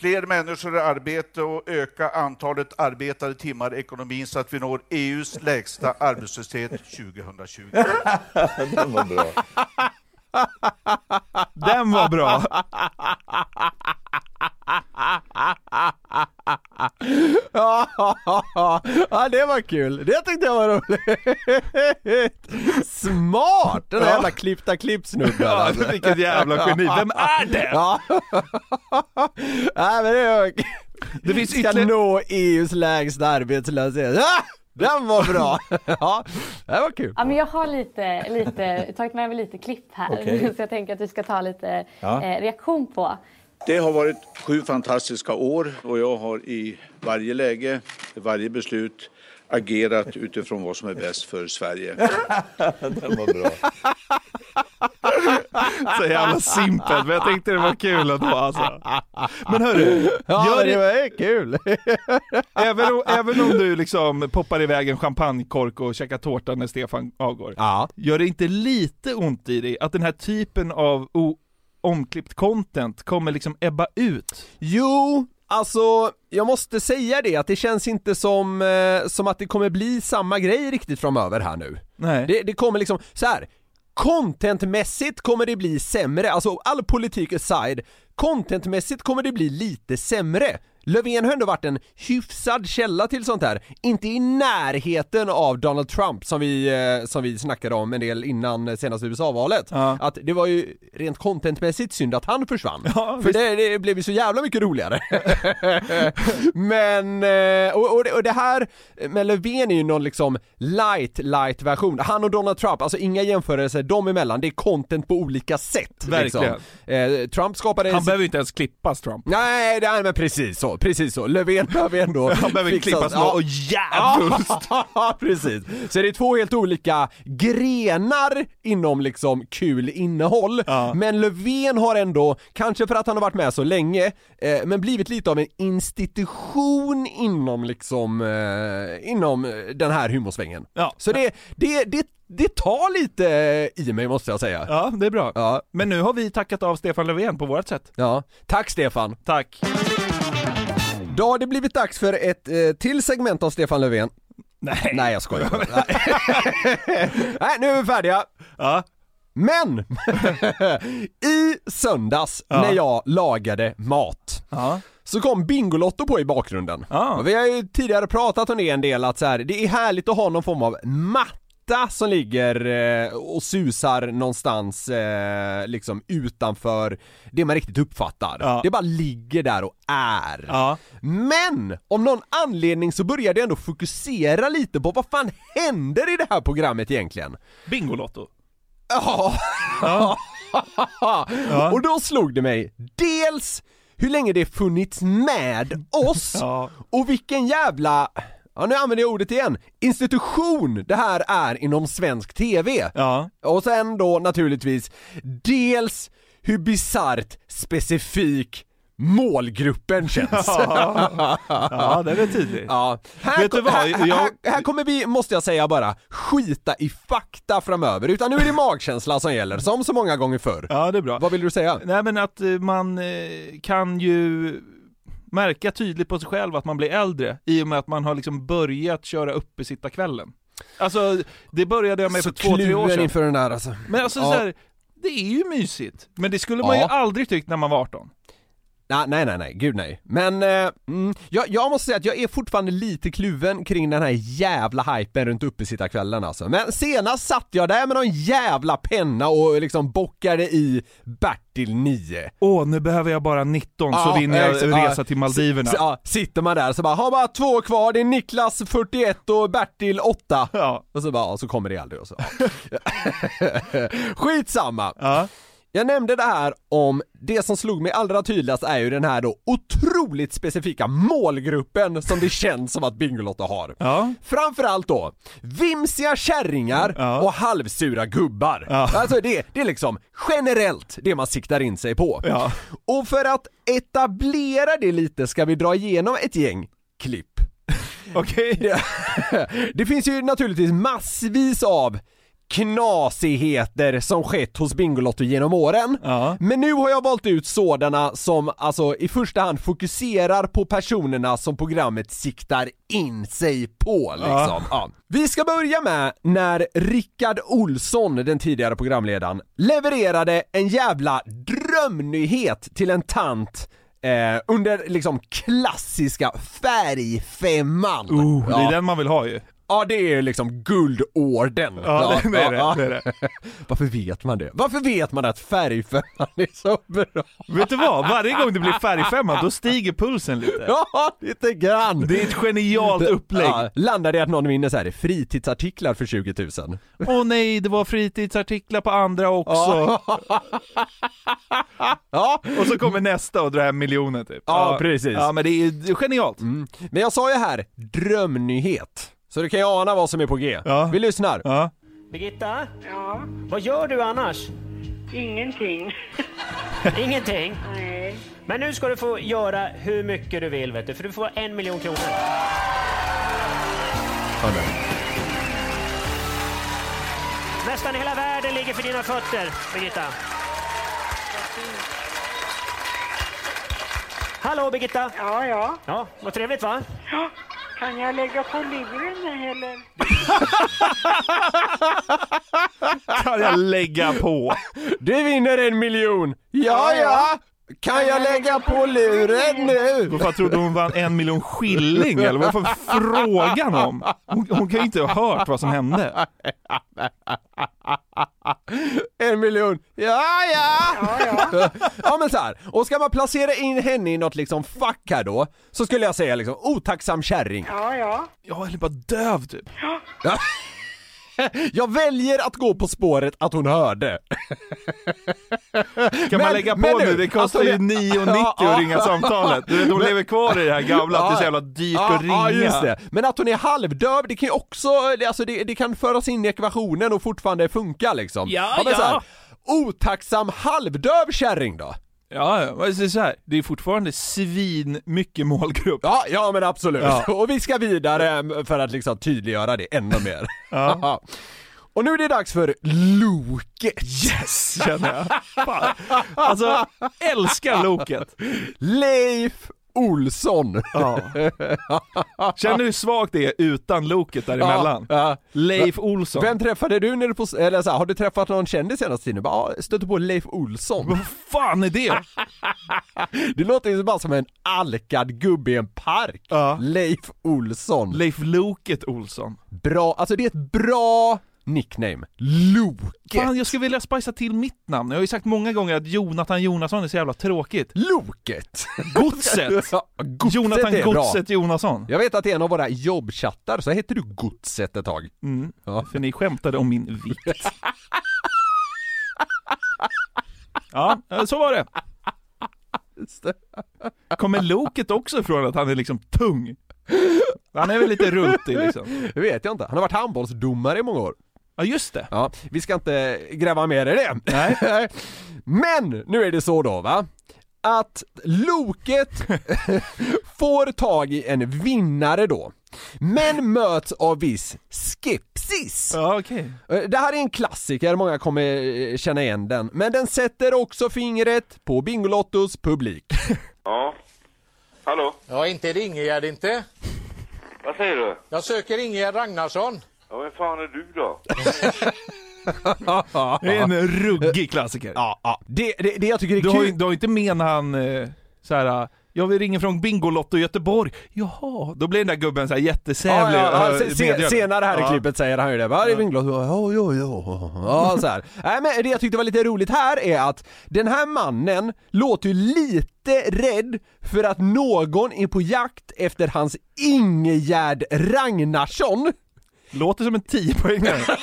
[SPEAKER 14] fler människor i arbete och öka antalet arbetade timmar i ekonomin så att vi når EUs lägsta arbetslöshet 2020.
[SPEAKER 13] Den var bra.
[SPEAKER 4] Den var bra.
[SPEAKER 5] ja, det var kul. Det tyckte jag var roligt. Smart! Den där
[SPEAKER 12] Ja.
[SPEAKER 5] jävla klippta klippsnubben. alltså.
[SPEAKER 12] Ja, vilket jävla geni. Vem är det?
[SPEAKER 5] Ja. Nej, men det är...
[SPEAKER 4] Det finns
[SPEAKER 5] Ska
[SPEAKER 4] ytterligare-
[SPEAKER 5] nå EUs lägsta arbetslöshet. Ah, den var bra! ja, det var kul.
[SPEAKER 11] Ja, men jag har lite, lite, tagit med mig lite klipp här
[SPEAKER 14] Okej.
[SPEAKER 11] så jag tänker att vi ska ta lite
[SPEAKER 14] Ja.
[SPEAKER 11] eh, reaktion på.
[SPEAKER 14] Det har varit sju fantastiska år och jag har i varje läge, i varje beslut agerat utifrån vad som är bäst för Sverige.
[SPEAKER 13] Den var bra.
[SPEAKER 4] Så jävla simpelt, men jag tänkte det var kul ändå alltså. Men hörru,
[SPEAKER 5] Ja,
[SPEAKER 4] gör
[SPEAKER 5] men
[SPEAKER 4] det-
[SPEAKER 5] det var kul!
[SPEAKER 4] även, om, även om du liksom poppar iväg en champagnekork och käkar tårta när Stefan avgår, gör det inte lite ont i dig att den här typen av o- omklippt content kommer liksom ebba ut?
[SPEAKER 5] Jo, alltså jag måste säga det att det känns inte som, eh, som att det kommer bli samma grej riktigt framöver här nu.
[SPEAKER 4] Nej.
[SPEAKER 5] Det, det kommer liksom, så här. Contentmässigt kommer det bli sämre, alltså all politik aside, contentmässigt kommer det bli lite sämre. Löfven har ändå varit en hyfsad källa till sånt här, inte i närheten av Donald Trump som vi, eh, som vi snackade om en del innan eh, senaste USA-valet. Att det var ju rent contentmässigt synd att han försvann. För det, det blev ju så jävla mycket roligare. Men, eh, och, och, det, och det här med Löfven är ju någon liksom light, light version. Han och Donald Trump, alltså inga jämförelser dem emellan, det är content på olika sätt.
[SPEAKER 4] Verkligen.
[SPEAKER 5] Liksom. Eh, Trump skapade...
[SPEAKER 4] Han behöver ju inte ens klippas Trump.
[SPEAKER 5] Nej, nej men precis så, precis så. Löfven behöver ändå
[SPEAKER 4] Han behöver
[SPEAKER 5] fixas.
[SPEAKER 4] klippas
[SPEAKER 5] Ja.
[SPEAKER 4] och jävligt.
[SPEAKER 5] Ja, precis. Så det är två helt olika grenar inom liksom kul innehåll. Men Löfven har ändå, kanske för att han har varit med så länge, eh, men blivit lite av en institution inom liksom, eh, inom eh, den här humorsvängen. Så det, det, det, det tar lite eh, i mig måste jag säga.
[SPEAKER 4] Ja, det är bra.
[SPEAKER 5] Ja.
[SPEAKER 4] Men nu har vi tackat av Stefan Löfven på vårt sätt.
[SPEAKER 5] Ja, tack Stefan!
[SPEAKER 4] Tack!
[SPEAKER 5] Då har det blivit dags för ett eh, till segment av Stefan Löfven.
[SPEAKER 4] Nej.
[SPEAKER 5] Nej jag skojar bara. Nej. Nej nu är vi färdiga. Men! I söndags
[SPEAKER 15] Ja.
[SPEAKER 5] när jag lagade mat så kom Bingolotto på i bakgrunden. Och vi har ju tidigare pratat om det en del att så här, det är härligt att ha någon form av matta som ligger eh, och susar någonstans eh, liksom utanför det man riktigt uppfattar.
[SPEAKER 15] Ja.
[SPEAKER 5] Det bara ligger där och är. Men! Om någon anledning så började jag ändå fokusera lite på vad fan händer i det här programmet egentligen?
[SPEAKER 4] Bingolotto?
[SPEAKER 5] Ja. Och då slog det mig, dels hur länge det funnits med oss och vilken jävla, ja nu använder jag ordet igen, institution det här är inom svensk TV. Och sen då naturligtvis, dels hur bisarrt specifik målgruppen känns.
[SPEAKER 15] Ja. Ja, den är
[SPEAKER 4] tydlig.
[SPEAKER 5] Ja. Här,
[SPEAKER 15] Vet du vad?
[SPEAKER 5] här,
[SPEAKER 15] Jag-
[SPEAKER 5] här, här kommer vi, måste jag säga bara, skita i fakta framöver, utan nu är det magkänsla som gäller, som så många gånger förr.
[SPEAKER 4] Ja, det är bra.
[SPEAKER 5] Vad vill du säga?
[SPEAKER 4] Nej men att eh, man eh, kan ju märka tydligt på sig själv att man blir äldre i och med att man har liksom börjat köra uppe sitta kvällen. Alltså, det började jag med
[SPEAKER 5] Så
[SPEAKER 4] för två, tre år
[SPEAKER 5] kluven
[SPEAKER 4] sedan.
[SPEAKER 5] inför den där alltså.
[SPEAKER 4] Men alltså
[SPEAKER 5] Ja.
[SPEAKER 4] så här, det är ju mysigt. Men det skulle man
[SPEAKER 5] Ja.
[SPEAKER 4] ju aldrig tyckt när man var 18.
[SPEAKER 5] Nej, nej, nej, nej, gud nej. Men, eh, mm, jag, jag måste säga att jag är fortfarande lite kluven kring den här jävla hypen runt uppesittarkvällen alltså. Men senast satt jag där med någon jävla penna och liksom bockade i Bertil 9.
[SPEAKER 4] Åh, nu behöver jag bara 19 så vinner jag
[SPEAKER 5] exakt.
[SPEAKER 4] resa
[SPEAKER 5] Ja,
[SPEAKER 4] till Maldiverna.
[SPEAKER 5] s- Ja, sitter man där så bara, har bara två kvar, det är Niklas 41 och Bertil 8.
[SPEAKER 4] Ja.
[SPEAKER 5] Och så bara, ja, så kommer det aldrig och så. Skitsamma. Jag nämnde det här om, det som slog mig allra tydligast är ju den här då otroligt specifika målgruppen som det känns som att Bingolotto har. Framförallt då, vimsiga kärringar och halvsura gubbar. Alltså det, det är liksom generellt det man siktar in sig på.
[SPEAKER 4] Ja.
[SPEAKER 5] Och för att etablera det lite ska vi dra igenom ett gäng klipp.
[SPEAKER 4] Okej.
[SPEAKER 5] Det finns ju naturligtvis massvis av knasigheter som skett hos Bingolotto genom åren. Men nu har jag valt ut sådana som alltså i första hand fokuserar på personerna som programmet siktar in sig på liksom.
[SPEAKER 15] Ja.
[SPEAKER 5] Ja. Vi ska börja med när Rickard Olsson, den tidigare programledaren, levererade en jävla drömnyhet till en tant eh, under liksom klassiska färgfemman.
[SPEAKER 4] Oh, det
[SPEAKER 5] Ja.
[SPEAKER 4] är den man vill ha ju.
[SPEAKER 5] Ja det är ju liksom guldorden.
[SPEAKER 4] Ja, det- det är det,
[SPEAKER 5] ja.
[SPEAKER 4] det är det.
[SPEAKER 5] Varför vet man det? Varför vet man att färgfemman är så bra?
[SPEAKER 4] Vet du vad? Varje gång det blir färgfemma, då stiger pulsen lite.
[SPEAKER 5] Ja, lite grann!
[SPEAKER 4] Det är ett genialt upplägg.
[SPEAKER 5] Ja, landar det att någon vinner så här fritidsartiklar för 20 000?
[SPEAKER 4] Åh nej, det var fritidsartiklar på andra också.
[SPEAKER 5] Ja.
[SPEAKER 4] Och så kommer nästa och drar hem miljoner typ.
[SPEAKER 5] Ja, precis.
[SPEAKER 4] Ja, men det är ju genialt.
[SPEAKER 5] Mm. Men jag sa ju här, drömnyhet. Så du kan ju ana vad som är på G. Vi lyssnar.
[SPEAKER 16] Birgitta,
[SPEAKER 17] Ja,
[SPEAKER 16] vad gör du annars?
[SPEAKER 17] ingenting.
[SPEAKER 16] Ingenting?
[SPEAKER 17] Nej.
[SPEAKER 16] Men nu ska du få göra hur mycket du vill, vet du, för du får en miljon kronor. Nästan hela världen ligger för dina fötter, Birgitta. Hallå, Birgitta!
[SPEAKER 17] Ja, ja.
[SPEAKER 16] Ja, vad trevligt, va?
[SPEAKER 17] Ja, Kan jag lägga på luren nu, eller?
[SPEAKER 4] Kan jag lägga på?
[SPEAKER 5] Du vinner en miljon! Ja, ja! Kan jag lägga på luren nu?
[SPEAKER 4] Varför trodde hon vann en miljon skilling eller vad var frågan om? Hon, hon kan ju inte ha hört vad som hände.
[SPEAKER 5] En miljon. Ja, ja! Ja, ja. men så här. Och ska man placera in henne i något liksom fack här då, så skulle jag säga liksom otacksam kärring.
[SPEAKER 17] Ja, ja.
[SPEAKER 4] Ja, eller bara döv typ.
[SPEAKER 5] Ja. Jag väljer att gå på spåret att hon hörde.
[SPEAKER 4] Kan man lägga på nu? alltså, Det kostar ju 9,90 att ringa samtalet. Du vet, de lever kvar i det här gamla, att det är så jävla dyrt
[SPEAKER 5] ja,
[SPEAKER 4] att
[SPEAKER 5] Ja,
[SPEAKER 4] ringa.
[SPEAKER 5] just det. Men att hon är halvdöv, det kan ju också, det- alltså det, det kan föras in i ekvationen och fortfarande funka liksom.
[SPEAKER 4] Ja,
[SPEAKER 5] men
[SPEAKER 4] ja.
[SPEAKER 5] Så här, otacksam halvdöv kärring då?
[SPEAKER 4] Ja, ja, men det är så här. Det är fortfarande svin mycket målgrupp.
[SPEAKER 5] Ja, ja men absolut. Och vi ska vidare för att liksom tydliggöra det ännu mer. Ja. Och nu är det dags för Loket! Yes!
[SPEAKER 4] Känner jag. Fan. Alltså, älskar Loket!
[SPEAKER 5] Leif Olsson.
[SPEAKER 4] Känner du hur svagt det är utan loket däremellan? Leif Olsson.
[SPEAKER 5] Vem träffade du när du på, eller så här, har du träffat någon kändis senaste tiden? Bara, ja, stötte på Leif Olsson. Vad
[SPEAKER 4] fan är det?
[SPEAKER 5] det låter ju bara som en alkad gubbe i en park. Leif Olsson.
[SPEAKER 4] Leif Loket Olsson.
[SPEAKER 5] Bra, alltså det är ett bra nickname. Loket.
[SPEAKER 4] Fan, jag skulle vilja spicea till mitt namn. Jag har ju sagt många gånger att Jonathan Jonasson är så jävla tråkigt.
[SPEAKER 5] Loket!
[SPEAKER 4] Godset!
[SPEAKER 5] Ja, godset
[SPEAKER 4] Jonathan
[SPEAKER 5] är bra.
[SPEAKER 4] Godset Jonasson.
[SPEAKER 5] Jag vet att i en av våra jobbchattar så hette du Godset ett tag.
[SPEAKER 4] Mm.
[SPEAKER 5] Ja.
[SPEAKER 4] För ni skämtade om min vikt. Ja, eh, så var det. Kommer Loket också ifrån att han är liksom tung? Han är väl lite runtig liksom.
[SPEAKER 5] Det vet jag inte. Han har varit handbollsdomare i många år.
[SPEAKER 4] Ja, just det.
[SPEAKER 5] Ja, vi ska inte gräva mer i det. Nej. Men nu är det så då va, att Loket får tag i en vinnare då. Men möts av viss skepsis.
[SPEAKER 4] Ja, okej.
[SPEAKER 5] Eh, Det här är en klassiker, många kommer eh, känna igen den. Men den sätter också fingret på Bingolottos publik.
[SPEAKER 18] Ja. Hallå?
[SPEAKER 19] Ja, inte är det Ingegärd inte.
[SPEAKER 18] Vad säger du?
[SPEAKER 19] Jag söker Ingegärd Ragnarsson.
[SPEAKER 18] Ja, vem fan är du då?
[SPEAKER 4] Det är en ruggig klassiker.
[SPEAKER 5] Ja, ja. Det, det, det jag tycker är
[SPEAKER 4] du
[SPEAKER 5] kul...
[SPEAKER 4] Har, ju- du har ju inte menat han eh, så här. eh, Jag vill ringa från Bingolotto i Göteborg. Jaha, då blir den där gubben så här jättesävlig.
[SPEAKER 5] Ja, ja,
[SPEAKER 4] eh,
[SPEAKER 5] ja. Se- se-
[SPEAKER 4] medgörlig.
[SPEAKER 5] senare här
[SPEAKER 4] Ja.
[SPEAKER 5] i klippet säger han ju det. Bara, "Det är Winglott." Ja, ja, ja. Ja, så här. Nej, men det jag tyckte var lite roligt här är att den här mannen låter ju lite rädd för att någon är på jakt efter hans Ingegärd Ragnarsson.
[SPEAKER 4] Låter som en 10-poängare.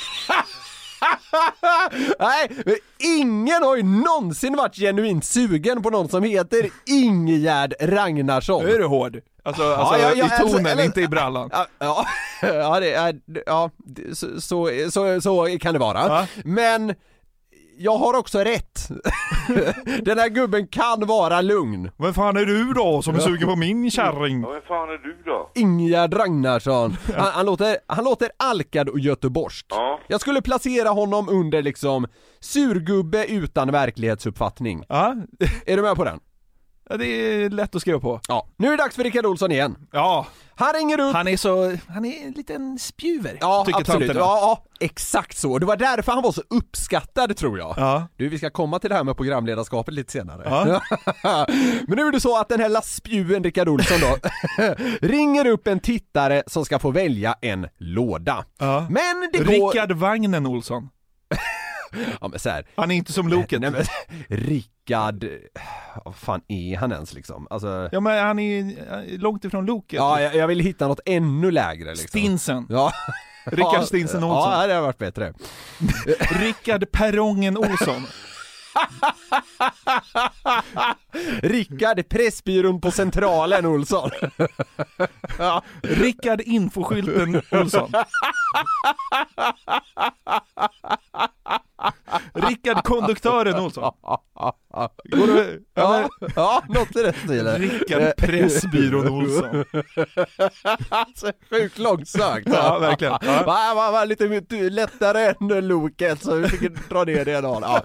[SPEAKER 5] Ah, Nej, men ingen har ju någonsin varit genuint sugen på någon som heter Ingegärd Ragnarsson.
[SPEAKER 4] Nu är du hård. Alltså,
[SPEAKER 5] Ja,
[SPEAKER 4] alltså
[SPEAKER 5] ja, ja,
[SPEAKER 4] i tonen,
[SPEAKER 5] alltså, eller-
[SPEAKER 4] inte i brallan.
[SPEAKER 5] Ja, ja, ja, det är, ja det- så, så, så, så kan det vara. Men jag har också rätt. Den här gubben kan vara lugn.
[SPEAKER 4] Vem fan är du då som är sugen på min kärring?
[SPEAKER 18] Ja, vem fan är du då?
[SPEAKER 5] Ingegärd Ragnarsson. Han, han, låter, han låter alkad och göteborgsk.
[SPEAKER 18] Ja.
[SPEAKER 5] Jag skulle placera honom under liksom surgubbe utan verklighetsuppfattning. Är du med på den?
[SPEAKER 4] Ja, det är lätt att skriva på.
[SPEAKER 5] Ja. Nu är det dags för Rickard Olsson igen.
[SPEAKER 4] Ja.
[SPEAKER 5] Han ringer upp.
[SPEAKER 4] Han är så, han är en liten spjuver.
[SPEAKER 5] Ja,
[SPEAKER 4] tycker
[SPEAKER 5] absolut.
[SPEAKER 4] tanterna.
[SPEAKER 5] Ja, ja, exakt så. Det var därför han var så uppskattad tror jag.
[SPEAKER 4] Ja.
[SPEAKER 5] Du, vi ska komma till det här med programledarskapet lite senare.
[SPEAKER 4] Ja.
[SPEAKER 5] Men nu är det så att den här lastspjuen Rickard Olsson då, ringer upp en tittare som ska få välja en låda. Men det går...
[SPEAKER 4] Rickard Vagnen Olsson.
[SPEAKER 5] Ja, men så här.
[SPEAKER 4] Han är inte som Loket.
[SPEAKER 5] Nej, men, Rickard... Vad fan är han ens liksom? Alltså...
[SPEAKER 4] Ja men han är ju eh, långt ifrån Loket.
[SPEAKER 5] Ja, jag, jag vill hitta något ännu lägre liksom.
[SPEAKER 4] Stinsen.
[SPEAKER 5] Ja.
[SPEAKER 4] Rickard Stinsen Olsson.
[SPEAKER 5] Ja, det har varit bättre.
[SPEAKER 4] Rickard Perrongen Olsson.
[SPEAKER 5] Rickard Pressbyrån på Centralen Olsson. ja.
[SPEAKER 4] Rickard Infoskylten Olsson. Rickard Konduktören Olsson. Går du,
[SPEAKER 5] Ja,
[SPEAKER 4] eller?
[SPEAKER 5] ja, något i den stilen.
[SPEAKER 4] Rickard Pressbyrån Olsson.
[SPEAKER 5] Alltså, sjukt långsökt.
[SPEAKER 4] Ja, verkligen. Ja.
[SPEAKER 5] Va, va, va, lite mycket lättare än loket så vi fick dra ner det en aning. Ja.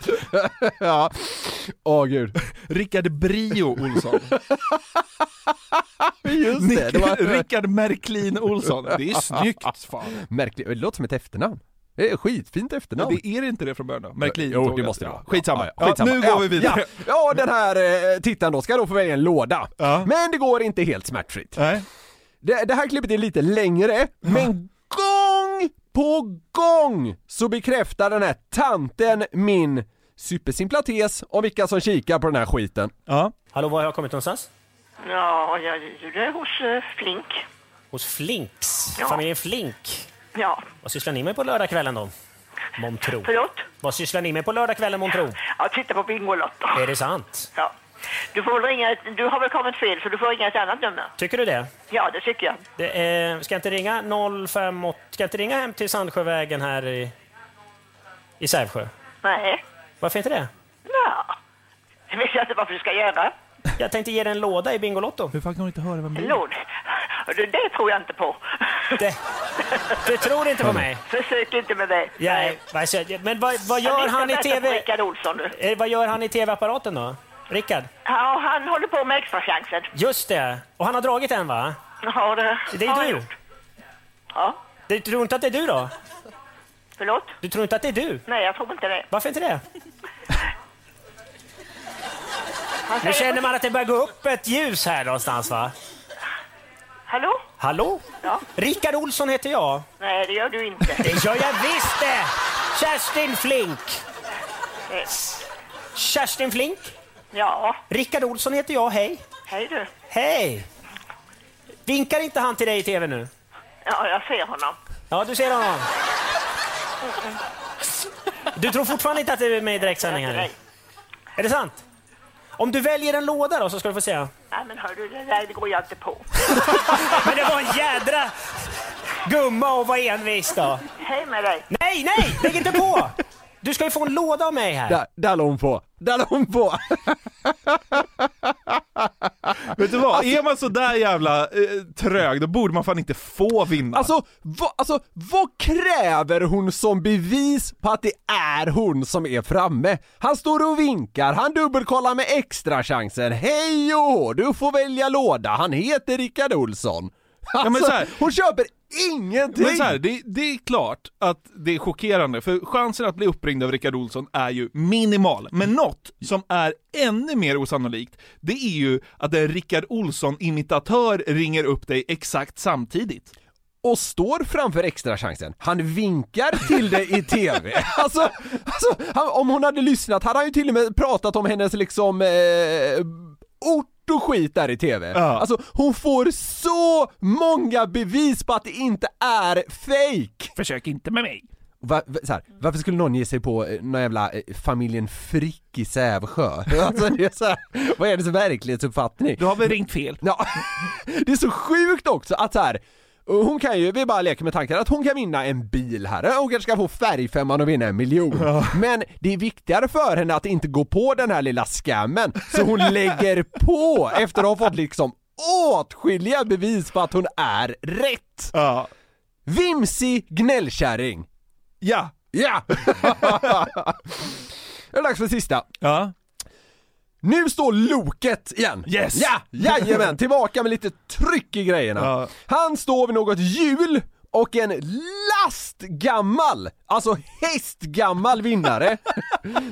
[SPEAKER 5] Ja. Åh gud.
[SPEAKER 4] Rickard Brio Olsson.
[SPEAKER 5] Just det, det var...
[SPEAKER 4] Rickard Märklin Olsson. Det är snyggt fan.
[SPEAKER 5] Märkligt, det låter som ett efternamn. Det är ett skitfint
[SPEAKER 4] Men
[SPEAKER 5] efternamn.
[SPEAKER 4] det är det inte det från början då? Märklin?
[SPEAKER 5] Jo,
[SPEAKER 4] tog
[SPEAKER 5] det
[SPEAKER 4] jag.
[SPEAKER 5] måste det vara.
[SPEAKER 4] Skitsamma.
[SPEAKER 5] Ja, ja, skitsamma.
[SPEAKER 4] Ja, nu går vi vidare.
[SPEAKER 5] Ja, ja den här eh, tittaren då ska då få välja en låda. Men det går inte helt smärtfritt. Det, det här klippet är lite längre, men gång på gång så bekräftar den här tanten min supersimpla tes om vilka som kikar på den här skiten.
[SPEAKER 16] Hallå, var har jag kommit någonstans?
[SPEAKER 17] Ja, jag gjorde hos eh, Flink.
[SPEAKER 16] Hos Flinks.
[SPEAKER 17] Ja.
[SPEAKER 16] Familjen Flink.
[SPEAKER 17] Ja,
[SPEAKER 16] Vad sysslar ni med på lördagskvällen då? Montro.
[SPEAKER 17] förlåt?
[SPEAKER 16] Vad sysslar ni med på lördagskvällen Montro?
[SPEAKER 17] Jag tittar på Bingolotto.
[SPEAKER 16] Är det sant?
[SPEAKER 17] Ja. Du får väl ringa, ett- du har väl kommit fel så du får ringa ett annat nummer.
[SPEAKER 16] Tycker du det?
[SPEAKER 17] Ja, det tycker jag.
[SPEAKER 16] det är, ska jag inte ringa 058? Ska jag inte ringa hem till Sandsjövägen här i, i Sävsjö?
[SPEAKER 17] Nej,
[SPEAKER 16] Varför inte det?
[SPEAKER 17] ja. Det vet jag inte varför du ska göra.
[SPEAKER 16] Jag tänkte ge dig en låda i Bingolotto.
[SPEAKER 4] Hur fan kan hon inte höra vem det är?
[SPEAKER 17] Lån. Det, det tror jag inte på.
[SPEAKER 16] Det, du tror inte på mig?
[SPEAKER 17] Försök inte med det.
[SPEAKER 16] Ja, men vad, vad
[SPEAKER 17] Jag
[SPEAKER 16] gör
[SPEAKER 17] vet
[SPEAKER 16] han i Eh.
[SPEAKER 17] inte att jag
[SPEAKER 16] TV?
[SPEAKER 17] Rickard Olsson nu.
[SPEAKER 16] Eh, Vad gör han i TV-apparaten då? Rickard?
[SPEAKER 17] Ja, han håller på med extra chansen.
[SPEAKER 16] Just det. Och han har dragit en va?
[SPEAKER 17] Ja, det,
[SPEAKER 16] Det
[SPEAKER 17] har
[SPEAKER 16] är
[SPEAKER 17] han
[SPEAKER 16] du?
[SPEAKER 17] gjort. Ja.
[SPEAKER 16] Du tror inte att det är du då?
[SPEAKER 17] Förlåt?
[SPEAKER 16] Du tror inte att det är du?
[SPEAKER 17] Nej, jag tror inte det.
[SPEAKER 16] Varför inte det?
[SPEAKER 17] Han
[SPEAKER 16] Nu
[SPEAKER 17] säger-
[SPEAKER 16] känner man att det börjar gå upp ett ljus här någonstans va?
[SPEAKER 17] Hallå?
[SPEAKER 16] Hallå?
[SPEAKER 17] Ja.
[SPEAKER 16] Rickard Olsson heter jag.
[SPEAKER 17] Nej, det gör du inte.
[SPEAKER 16] Det gör jag visst det! Kerstin Flink!
[SPEAKER 17] Nej.
[SPEAKER 16] Kerstin Flink?
[SPEAKER 17] Ja,
[SPEAKER 16] Rickard Olsson heter jag, hej.
[SPEAKER 17] hej du.
[SPEAKER 16] Hej! Vinkar inte han till dig i TV nu?
[SPEAKER 17] Ja, jag ser honom.
[SPEAKER 16] Ja, du ser honom. Du tror fortfarande inte att du är med i direktsändning här? nu? Är det sant? Om du väljer en låda då så ska du få se.
[SPEAKER 17] Nej, men hör du, det där det går jag inte på.
[SPEAKER 16] Men det var en jädra gumma och var envis då.
[SPEAKER 17] Hej med dig.
[SPEAKER 16] Nej, nej! Lägg inte på! Du ska ju få en låda av mig här.
[SPEAKER 5] Där, där la hon på! Där la hon på!
[SPEAKER 4] Vet du vad,
[SPEAKER 5] Alltså-
[SPEAKER 4] är man så där jävla eh, trög då borde man fan inte få vinna.
[SPEAKER 5] Alltså, vad, alltså, vad kräver hon som bevis på att det är hon som är framme? Han står och vinkar, han dubbelkollar med extra chansen. Hej och hå, du får välja låda, han heter Rickard Olsson. Alltså,
[SPEAKER 4] men så här-
[SPEAKER 5] hon köper ingenting!
[SPEAKER 4] Men så här, det, det är klart att det är chockerande, för chansen att bli uppringd av Rickard Olsson är ju minimal. Men något som är ännu mer osannolikt, det är ju att en Rickard Olsson-imitatör ringer upp dig exakt samtidigt.
[SPEAKER 5] och står framför extra chansen. Han vinkar till dig i TV. Alltså, alltså han, om hon hade lyssnat hade han ju till och med pratat om hennes liksom eh, ort och skit där i TV. Alltså hon får så många bevis på att det inte är fake.
[SPEAKER 4] Försök inte med mig.
[SPEAKER 5] Va, va, så här, varför skulle någon ge sig på eh, någon jävla eh, familjen Frick i Sävsjö? Alltså, det är så här, vad är det för verklighetsuppfattning?
[SPEAKER 4] Du har väl ringt fel?
[SPEAKER 5] Ja, det är så sjukt också att så här. Hon kan ju, vi bara leker med tanken att hon kan vinna en bil här, hon kanske ska få färgfemman och vinna en miljon. Men det är viktigare för henne att inte gå på den här lilla scammen, så hon lägger på efter att ha fått liksom åtskilliga bevis på att hon är rätt!
[SPEAKER 4] Ja.
[SPEAKER 5] Vimsig gnällkärring!
[SPEAKER 4] Ja!
[SPEAKER 5] Ja! Det är dags för sista.
[SPEAKER 4] Ja.
[SPEAKER 5] Nu står loket igen!
[SPEAKER 4] Yes!
[SPEAKER 5] Ja! Jajamän! Tillbaka med lite tryck i grejerna. Han står vid något hjul och en lastgammal, alltså hästgammal vinnare,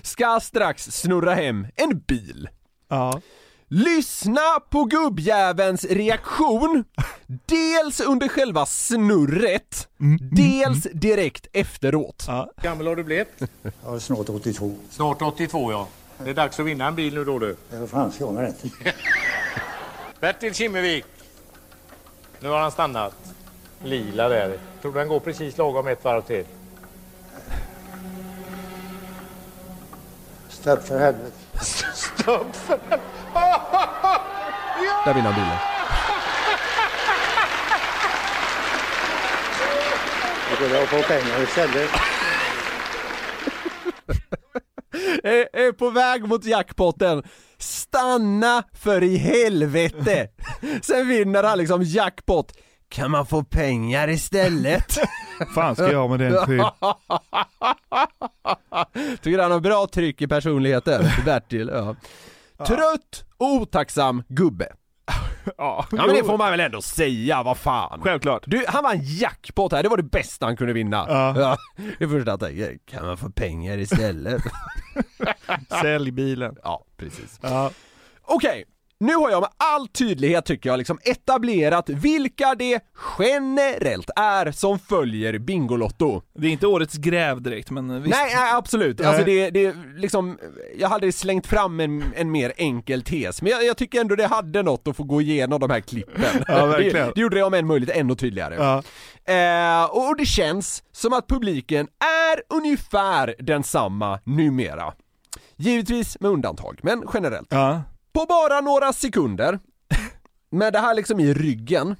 [SPEAKER 5] ska strax snurra hem en bil.
[SPEAKER 4] Ja.
[SPEAKER 5] Lyssna på gubbjävelns reaktion, dels under själva snurret,
[SPEAKER 4] Mm.
[SPEAKER 5] dels direkt efteråt.
[SPEAKER 19] gammal har du blivit?
[SPEAKER 20] Jag är snart 82.
[SPEAKER 19] Snart 82 ja. Det är dags att vinna en bil nu då du.
[SPEAKER 20] Jag är fransk, jag med rätt.
[SPEAKER 19] Bertil Kimmevik. Nu har han stannat. Lila där. Tror du den går precis lagom ett varv till?
[SPEAKER 20] Stöp för helvete.
[SPEAKER 19] Stopp!
[SPEAKER 5] Där vinner han bilen.
[SPEAKER 20] Då kunde jag få pengar istället.
[SPEAKER 5] är, är på väg mot jackpotten. Stanna för i helvete! Sen vinner han liksom jackpot. Kan man få pengar istället?
[SPEAKER 4] Fan ska jag ha med den till?
[SPEAKER 5] Tycker han har bra tryck i personligheten, Bertil. Ja. Trött, otacksam gubbe.
[SPEAKER 4] Ja,
[SPEAKER 5] Ja men det får man väl ändå säga, vad fan.
[SPEAKER 4] Självklart.
[SPEAKER 5] Du, han vann jackpot här, det var det bästa han kunde vinna. Ja. Det första han tänker, kan man få pengar istället?
[SPEAKER 4] Sälj bilen.
[SPEAKER 5] Ja, precis. Okej, nu har jag med all tydlighet tycker jag liksom etablerat vilka det generellt är som följer Bingolotto.
[SPEAKER 4] Det är inte årets gräv direkt, men eh, visst.
[SPEAKER 5] Nej, nej absolut.
[SPEAKER 4] Nej.
[SPEAKER 5] Alltså det, det är liksom, jag hade slängt fram en, en mer enkel tes, men jag, jag tycker ändå det hade något att få gå igenom de här klippen.
[SPEAKER 4] Ja, verkligen.
[SPEAKER 5] Det, det gjorde det om än möjligt ännu tydligare.
[SPEAKER 4] Ja.
[SPEAKER 5] Eh, och och det känns som att publiken är ungefär densamma numera. Givetvis med undantag, men generellt. På bara några sekunder, med det här liksom i ryggen,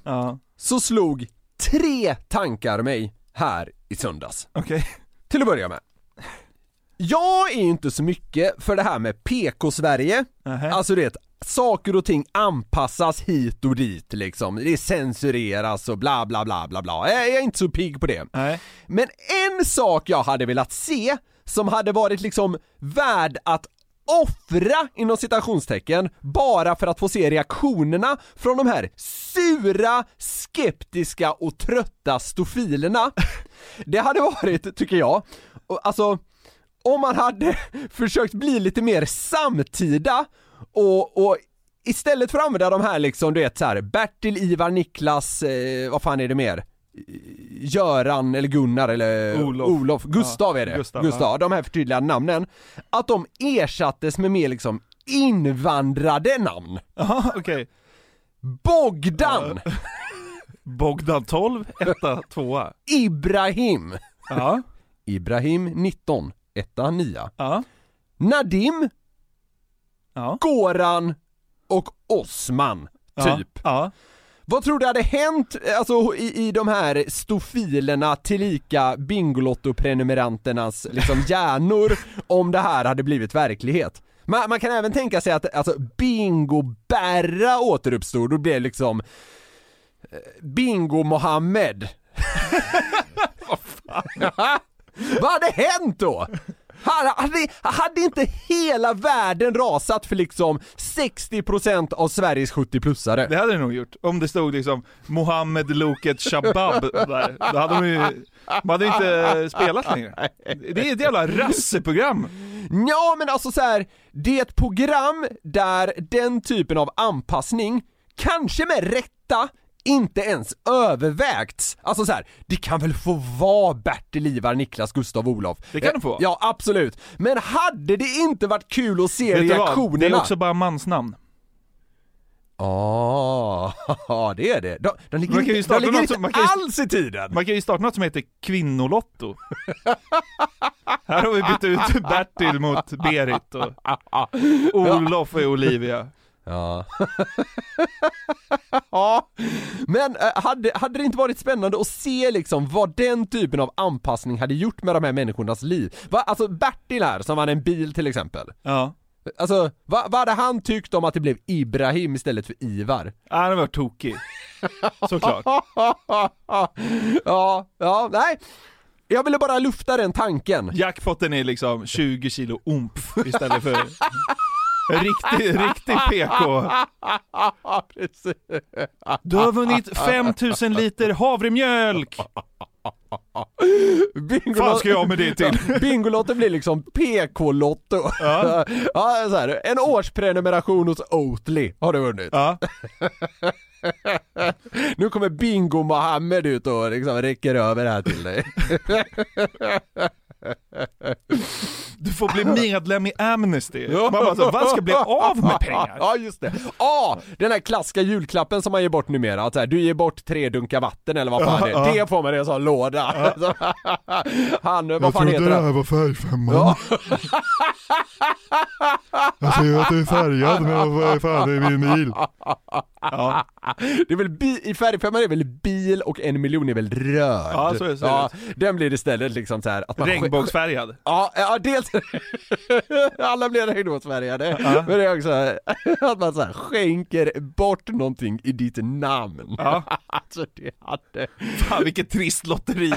[SPEAKER 5] så slog tre tankar mig här i söndags.
[SPEAKER 4] Okej.
[SPEAKER 5] Till att börja med. Jag är inte så mycket för det här med PK-Sverige, alltså det saker och ting anpassas hit och dit liksom, det censureras och bla bla bla bla bla. Jag jag är inte så pigg på det. Men en sak jag hade velat se, som hade varit liksom värd att offra inom citationstecken bara för att få se reaktionerna från de här sura, skeptiska och trötta stofilerna. Det hade varit, tycker jag, och alltså om man hade försökt bli lite mer samtida och, och istället för att använda de här liksom, du vet så här, Bertil, Ivar, Niklas, eh, vad fan är det mer? Göran eller Gunnar eller
[SPEAKER 4] Olof.
[SPEAKER 5] Gustav är det,
[SPEAKER 4] Gustav,
[SPEAKER 5] Gustav,
[SPEAKER 4] ja.
[SPEAKER 5] de här förtydligade namnen, att de ersattes med mer liksom invandrade namn.
[SPEAKER 4] Jaha, okej.
[SPEAKER 5] Bogdan!
[SPEAKER 4] Bogdan 12, etta, tvåa.
[SPEAKER 5] Ibrahim.
[SPEAKER 4] Ja.
[SPEAKER 5] Ibrahim 19, etta, nia.
[SPEAKER 4] Ja.
[SPEAKER 5] Nadim.
[SPEAKER 4] Ja.
[SPEAKER 5] Goran och Osman,
[SPEAKER 4] Ja,
[SPEAKER 5] typ. Vad tror du hade hänt, alltså i, i de här stofilerna tillika Bingolotto-prenumeranternas liksom hjärnor om det här hade blivit verklighet? Man, man kan även tänka sig att alltså Bingo-Berra återuppstod, då blev liksom eh, Bingo-Mohammed. Vad fan? Vad hade hänt då? Hade, hade, hade inte hela världen rasat för liksom 60% av Sveriges 70-plussare?
[SPEAKER 4] Det hade det nog gjort. Om det stod liksom Mohammed Loket Shabab där, då hade de ju, man hade ju inte spelat längre. Det är ett jävla rasseprogram.
[SPEAKER 5] Ja men alltså så här, det är ett program där den typen av anpassning, kanske med rätta, inte ens övervägts. Alltså så här, det kan väl få vara Bertil, Ivar, Niklas, Gustav, Olof.
[SPEAKER 4] Det kan det få vara.
[SPEAKER 5] Ja absolut. Men hade det inte varit kul att se
[SPEAKER 4] Vet du vad?
[SPEAKER 5] reaktionerna?
[SPEAKER 4] Det är också bara mansnamn.
[SPEAKER 5] Ah, ja det är det. De, de ligger,
[SPEAKER 4] Man kan ju
[SPEAKER 5] inte- de
[SPEAKER 4] starta
[SPEAKER 5] ligger
[SPEAKER 4] något
[SPEAKER 5] inte
[SPEAKER 4] som, man kan ju,
[SPEAKER 5] alls i tiden!
[SPEAKER 4] Man kan ju starta något som heter Kvinnolotto. Här har vi bytt ut Bertil mot Berit och Olof och Olivia.
[SPEAKER 5] Ja. ja. Men eh, hade, hade det inte varit spännande att se liksom vad den typen av anpassning hade gjort med de här människornas liv? Va, alltså Bertil här, som vann en bil till exempel.
[SPEAKER 4] Ja.
[SPEAKER 5] Alltså, va, vad hade han tyckt om att det blev Ibrahim istället för Ivar?
[SPEAKER 4] Han hade varit tokig. Såklart.
[SPEAKER 5] ja, ja, nej. Jag ville bara lufta den tanken.
[SPEAKER 4] Jackpotten är liksom 20 kilo omf istället för en riktig, riktig PK.
[SPEAKER 5] Precis.
[SPEAKER 4] Du har vunnit 5000 liter havremjölk!
[SPEAKER 5] Bingo
[SPEAKER 4] Fan ska jag ha med det till?
[SPEAKER 5] Ja, Bingolotto blir liksom PK-lotto.
[SPEAKER 4] Ja.
[SPEAKER 5] ja så här, en årsprenumeration hos Oatly har du vunnit.
[SPEAKER 4] Ja.
[SPEAKER 5] nu kommer Bingo Mohammed ut och liksom räcker över det här till dig.
[SPEAKER 4] Du får bli medlem i Amnesty. Man bara så, vad ska bli av med pengar?
[SPEAKER 5] Ja just det. Ah, den här klassiska julklappen som man ger bort numera. Att så här, du ger bort tre dunkar vatten eller vad fan det
[SPEAKER 4] Ja,
[SPEAKER 5] är.
[SPEAKER 4] ja.
[SPEAKER 5] Det får man i en sån låda. Han, vad fan heter han?
[SPEAKER 21] var färgfemman.
[SPEAKER 5] Ja.
[SPEAKER 21] Jag säger att det är färgad, men vad fan, det är min bil.
[SPEAKER 4] Ja.
[SPEAKER 5] Det är väl bi- i färgfemman är väl bil och en miljon är väl röd?
[SPEAKER 4] Ja, så är det, så är
[SPEAKER 5] den blir istället liksom så här att man...
[SPEAKER 4] Regnbågsfärgad.
[SPEAKER 5] Ja, ja, dels... Alla blir regnbågsfärgade, men det är också att man så här skänker bort någonting i ditt namn.
[SPEAKER 4] Ja.
[SPEAKER 5] Alltså det hade...
[SPEAKER 4] Fan vilket trist lotteri.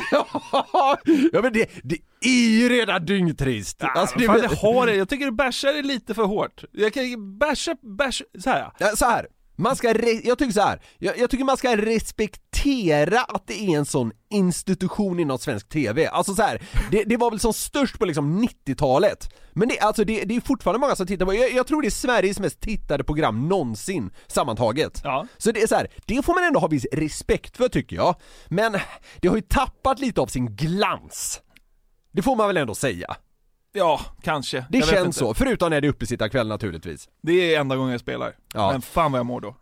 [SPEAKER 5] ja men det, det är ju redan dyngtrist! Alltså,
[SPEAKER 4] Fan, det har det. Jag tycker du bärsar det lite för hårt. Jag kan bärsa, bärs, så här.
[SPEAKER 5] Ja, så här. Man ska, re- jag tycker så här. Jag, jag tycker man ska respektera att det är en sån institution inom svensk TV. Alltså så här, det, det var väl som störst på liksom 90-talet. Men det, alltså det, det är fortfarande många som tittar på, jag, jag tror det är Sveriges mest tittade program någonsin sammantaget. Så det är så här, det får man ändå ha viss respekt för tycker jag. Men det har ju tappat lite av sin glans. Det får man väl ändå säga.
[SPEAKER 4] Ja, kanske.
[SPEAKER 5] Det
[SPEAKER 4] Jag vet
[SPEAKER 5] känns
[SPEAKER 4] inte.
[SPEAKER 5] så, förutom när det är uppesittarkväll naturligtvis.
[SPEAKER 4] Det är enda gången jag spelar.
[SPEAKER 5] Ja.
[SPEAKER 4] Men fan vad jag mår då.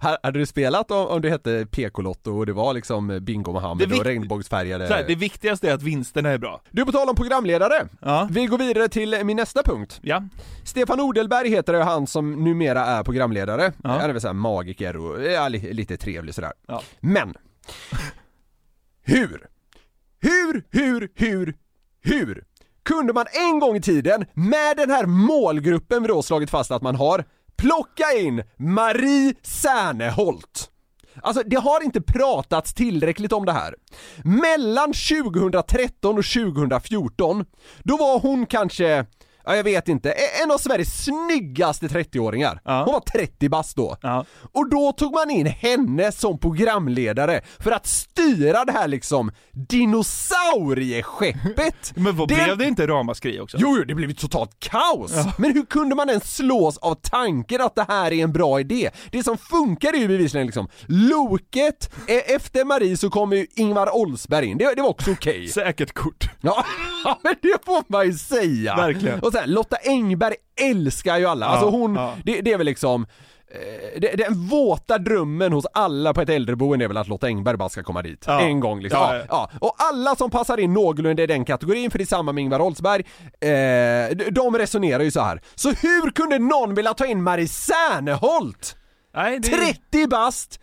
[SPEAKER 5] Här- Hade du spelat om, om det hette PK-lotto och det var liksom Bingo Mohammed
[SPEAKER 4] Det är
[SPEAKER 5] och
[SPEAKER 4] vikt-
[SPEAKER 5] regnbågsfärgade...
[SPEAKER 4] Så här, det viktigaste är att vinsterna är bra.
[SPEAKER 5] Du på tal om programledare, vi går vidare till min nästa punkt.
[SPEAKER 4] Ja.
[SPEAKER 5] Stefan Odelberg heter det, han som numera är programledare. Han är väl såhär magiker och ja, li- lite trevlig sådär.
[SPEAKER 4] Ja.
[SPEAKER 5] Men! Hur? Hur, hur, hur, hur kunde man en gång i tiden, med den här målgruppen vi då slagit fast att man har, plocka in Marie Serneholt? Alltså det har inte pratats tillräckligt om det här. Mellan 2013 och 2014, då var hon kanske, ja jag vet inte, e- en av Sveriges snyggaste 30-åringar. Hon var 30 bast då. Och då tog man in henne som programledare för att styra det här liksom dinosaurieskeppet. Men vad
[SPEAKER 4] Blev det inte ramaskri också?
[SPEAKER 5] Jo, jo, det blev ju totalt kaos!
[SPEAKER 4] Ja.
[SPEAKER 5] Men hur kunde man ens slås av tanken att det här är en bra idé? Det som funkar är ju bevisligen liksom Loket, e- efter Marie så kommer ju Ingvar Oldsberg in, det, det var också okej.
[SPEAKER 4] Säkert kort.
[SPEAKER 5] Ja, men det får man ju säga!
[SPEAKER 4] Verkligen.
[SPEAKER 5] Och så här, Lotta Engberg älskar ju alla, alltså
[SPEAKER 4] Ja,
[SPEAKER 5] hon,
[SPEAKER 4] ja.
[SPEAKER 5] det, det är väl liksom eh, det- den våta drömmen hos alla på ett äldreboende är väl att Lotta Engberg bara ska komma dit
[SPEAKER 4] Ja.
[SPEAKER 5] en gång liksom.
[SPEAKER 4] Ja,
[SPEAKER 5] Ja,
[SPEAKER 4] ja.
[SPEAKER 5] ja. Och alla som passar in någorlunda i den kategorin, för det är samma med Ingvar Oldsberg, eh, d- de resonerar ju så här. Så hur kunde någon vilja ta in Marie Serneholt? 30 bast,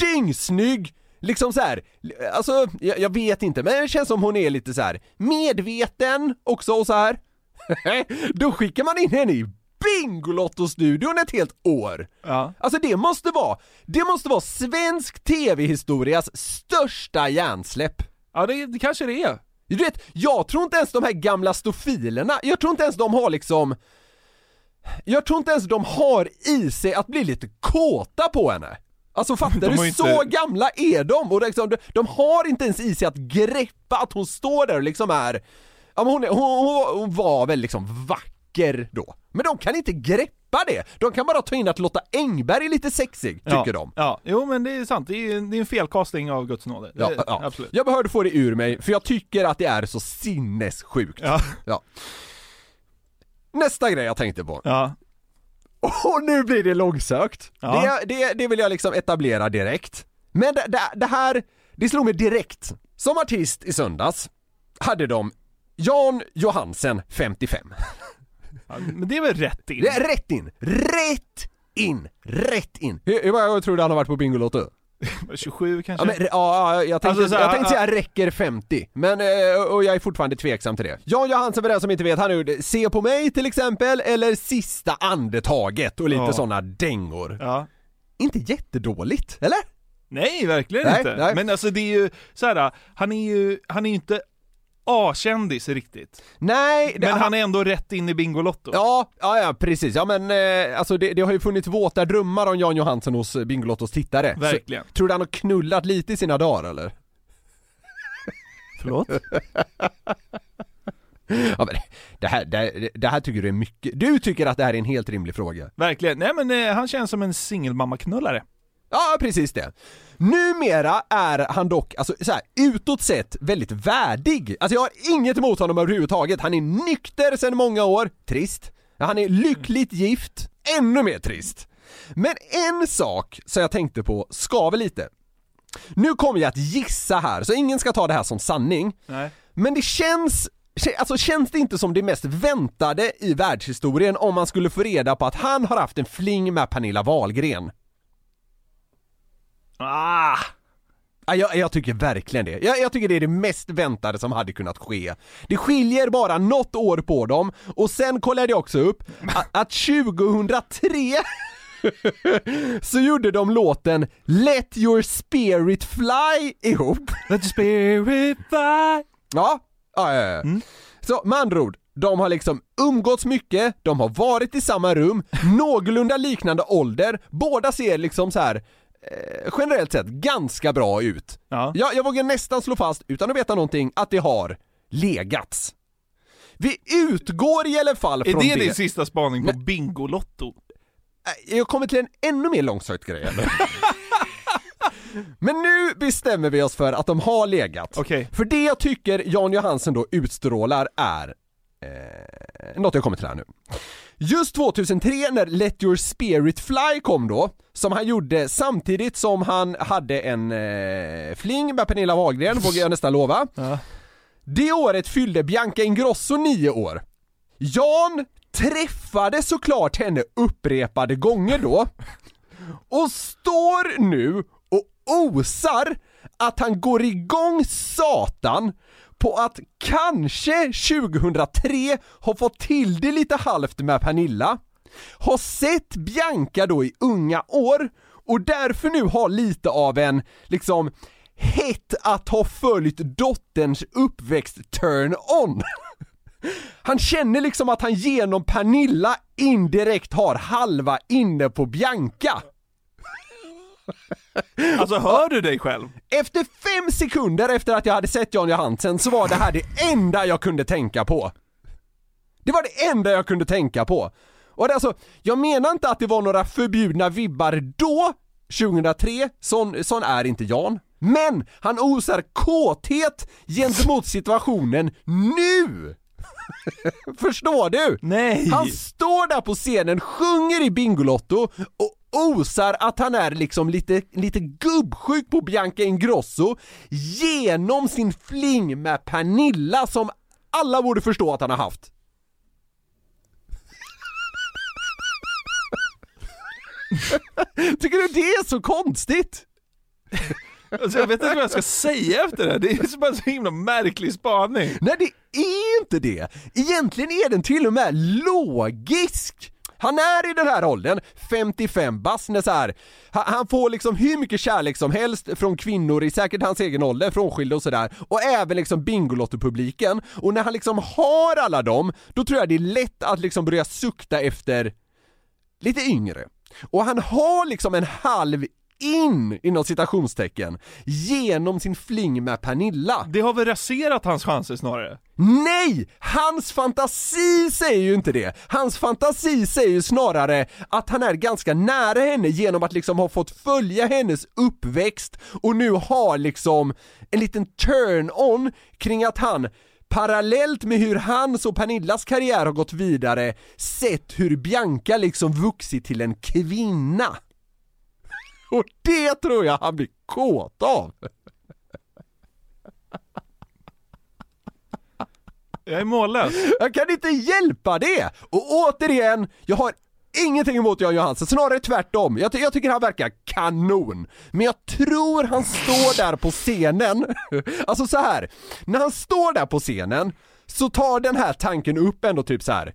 [SPEAKER 5] dyngsnygg, liksom så här. alltså jag, jag vet inte, men det känns som hon är lite så här medveten också och så här. Då skickar man in henne i Bingolotto-studion ett helt år! Alltså det måste vara, det måste vara svensk TV-historias största hjärnsläpp.
[SPEAKER 4] Ja det, kanske det är.
[SPEAKER 5] Du vet, jag tror inte ens de här gamla stofilerna, jag tror inte ens de har liksom jag tror inte ens de har i sig att bli lite kåta på henne. Alltså
[SPEAKER 4] De
[SPEAKER 5] fattar
[SPEAKER 4] har
[SPEAKER 5] du?
[SPEAKER 4] inte-
[SPEAKER 5] Så gamla är de! Och liksom, de, de har inte ens i sig att greppa att hon står där och liksom är... Ja, men hon, är- hon, hon, hon var väl liksom vacker då. Men de kan inte greppa det! De kan bara ta in att Lotta Engberg är lite sexig, tycker
[SPEAKER 4] ja.
[SPEAKER 5] de.
[SPEAKER 4] Ja, jo men det är sant. Det är, det är en felkastning av Guds nåde. Det,
[SPEAKER 5] Ja, ja.
[SPEAKER 4] Eh, Absolut.
[SPEAKER 5] Jag behövde få det ur mig, för jag tycker att det är så sinnessjukt. Ja. Nästa grej jag tänkte på. Och nu blir det långsökt.
[SPEAKER 15] Ja.
[SPEAKER 5] Det, det, det vill jag liksom etablera direkt. Men det, det, det här, det slog mig direkt. Som artist i söndags hade de Jan Johansen, 55.
[SPEAKER 4] men det är väl rätt in?
[SPEAKER 5] Det är rätt in! Rätt in! Rätt in! Hur, hur många gånger tror du han har varit på Bingolotto?
[SPEAKER 4] 27 kanske?
[SPEAKER 5] Ja, men, ja, ja, jag tänkte,
[SPEAKER 4] Alltså, så här,
[SPEAKER 5] jag tänkte
[SPEAKER 4] ja.
[SPEAKER 5] säga räcker 50, men eh, och jag är fortfarande tveksam till det. Jan Johansen för den som inte vet, han har gjort Se på mig till exempel, eller Sista andetaget och lite
[SPEAKER 4] Ja.
[SPEAKER 5] såna sådana dängor.
[SPEAKER 4] Ja.
[SPEAKER 5] Inte jättedåligt, eller?
[SPEAKER 4] Nej, verkligen
[SPEAKER 5] Nej,
[SPEAKER 4] inte.
[SPEAKER 5] nej.
[SPEAKER 4] Men alltså det är ju så här, han är ju, han är ju inte A-kändis riktigt.
[SPEAKER 5] Nej,
[SPEAKER 4] Men han
[SPEAKER 5] han-
[SPEAKER 4] är ändå rätt in i Bingolotto.
[SPEAKER 5] Ja, ja, ja precis. Ja men eh, alltså det, det har ju funnits våta drömmar om Jan Johansen hos eh, Bingolottos tittare.
[SPEAKER 4] Verkligen.
[SPEAKER 5] Så, tror du han har knullat lite i sina dagar eller?
[SPEAKER 4] Förlåt?
[SPEAKER 5] ja, men det, här, det, det här tycker du är mycket, du tycker att det här är en helt rimlig fråga.
[SPEAKER 4] Verkligen. Nej men eh, han känns som en singelmammaknullare.
[SPEAKER 5] Ja, precis det. Numera är han dock, alltså så här, utåt sett väldigt värdig. Alltså jag har inget emot honom överhuvudtaget. Han är nykter sedan många år, trist. Han är lyckligt gift, ännu mer trist. Men en sak som jag tänkte på skaver lite. Nu kommer jag att gissa här, så ingen ska ta det här som sanning.
[SPEAKER 4] Nej.
[SPEAKER 5] Men det känns, kä- alltså känns det inte som det mest väntade i världshistorien om man skulle få reda på att han har haft en fling med Pernilla Wahlgren?
[SPEAKER 4] Ah!
[SPEAKER 5] Ja, jag, jag tycker verkligen det. Jag, jag tycker det är det mest väntade som hade kunnat ske. Det skiljer bara något år på dem, och sen kollade jag också upp a- att 2003 så gjorde de låten 'Let your spirit fly' ihop.
[SPEAKER 4] Let your spirit fly!
[SPEAKER 5] Ja, ja, ja, ja. Så med andra ord, de har liksom umgåtts mycket, de har varit i samma rum, någorlunda liknande ålder, båda ser liksom så här eh, generellt sett ganska bra ut.
[SPEAKER 4] Ja.
[SPEAKER 5] Jag, jag vågar nästan slå fast, utan att veta någonting, att det har legats. Vi utgår i alla fall
[SPEAKER 4] Är
[SPEAKER 5] från
[SPEAKER 4] det din sista spaning på Bingolotto?
[SPEAKER 5] Äh, jag kommer till en ännu mer långsökt grej eller? Men nu bestämmer vi oss för att de har legat. För det jag tycker Jan Johansen då utstrålar är eh, något jag kommer till här nu. Just 2003 när Let Your Spirit Fly kom då, som han gjorde samtidigt som han hade en eh, fling med Pernilla Wahlgren, vågar jag nästan lova. Det året fyllde Bianca Ingrosso nio år. Jan träffade såklart henne upprepade gånger då och står nu och osar att han går igång satan på att kanske 2003 har fått till det lite halvt med Pernilla, har sett Bianca då i unga år och därför nu har lite av en, liksom, hett att ha följt dotterns uppväxt turn-on. Han känner liksom att han genom Pernilla indirekt har halva inne på Bianca.
[SPEAKER 4] Alltså hör du dig själv?
[SPEAKER 5] Efter fem sekunder efter att jag hade sett Jan Johansen så var det här det enda jag kunde tänka på. Det var det enda jag kunde tänka på. Och det är alltså, jag menar inte att det var några förbjudna vibbar då, 2003, sån, sån är inte Jan. Men han osar kåthet gentemot situationen nu! Förstår du?
[SPEAKER 4] Nej!
[SPEAKER 5] Han står där på scenen, sjunger i Bingolotto och osar att han är liksom lite, lite gubbsjuk på Bianca Ingrosso genom sin fling med Pernilla som alla borde förstå att han har haft. Tycker du det är så konstigt?
[SPEAKER 4] Alltså jag vet inte vad jag ska säga efter det här. Det är ju bara en så himla märklig spaning.
[SPEAKER 5] Nej det är inte det! Egentligen är den till och med logisk! Han är i den här åldern, 55 bass, när så här, ha- han får liksom hur mycket kärlek som helst från kvinnor i säkert hans egen ålder, frånskilda och sådär, och även liksom Bingolotto-publiken. Och när han liksom har alla dem, då tror jag det är lätt att liksom börja sukta efter lite yngre. Och han har liksom en halv in, inom citationstecken, genom sin fling med Pernilla.
[SPEAKER 4] Det har väl raserat hans chanser snarare?
[SPEAKER 5] Nej! Hans fantasi säger ju inte det. Hans fantasi säger ju snarare att han är ganska nära henne genom att liksom ha fått följa hennes uppväxt och nu har liksom en liten turn-on kring att han Parallellt med hur hans och Pernillas karriär har gått vidare, sett hur Bianca liksom vuxit till en kvinna. Och det tror jag han blir kåt av!
[SPEAKER 4] Jag är mållös.
[SPEAKER 5] Jag kan inte hjälpa det! Och återigen, jag har ingenting emot Jan Johansen, snarare tvärtom. Jag, ty- jag tycker han verkar kanon. Men jag tror han står där på scenen, alltså så här. när han står där på scenen så tar den här tanken upp ändå typ så här.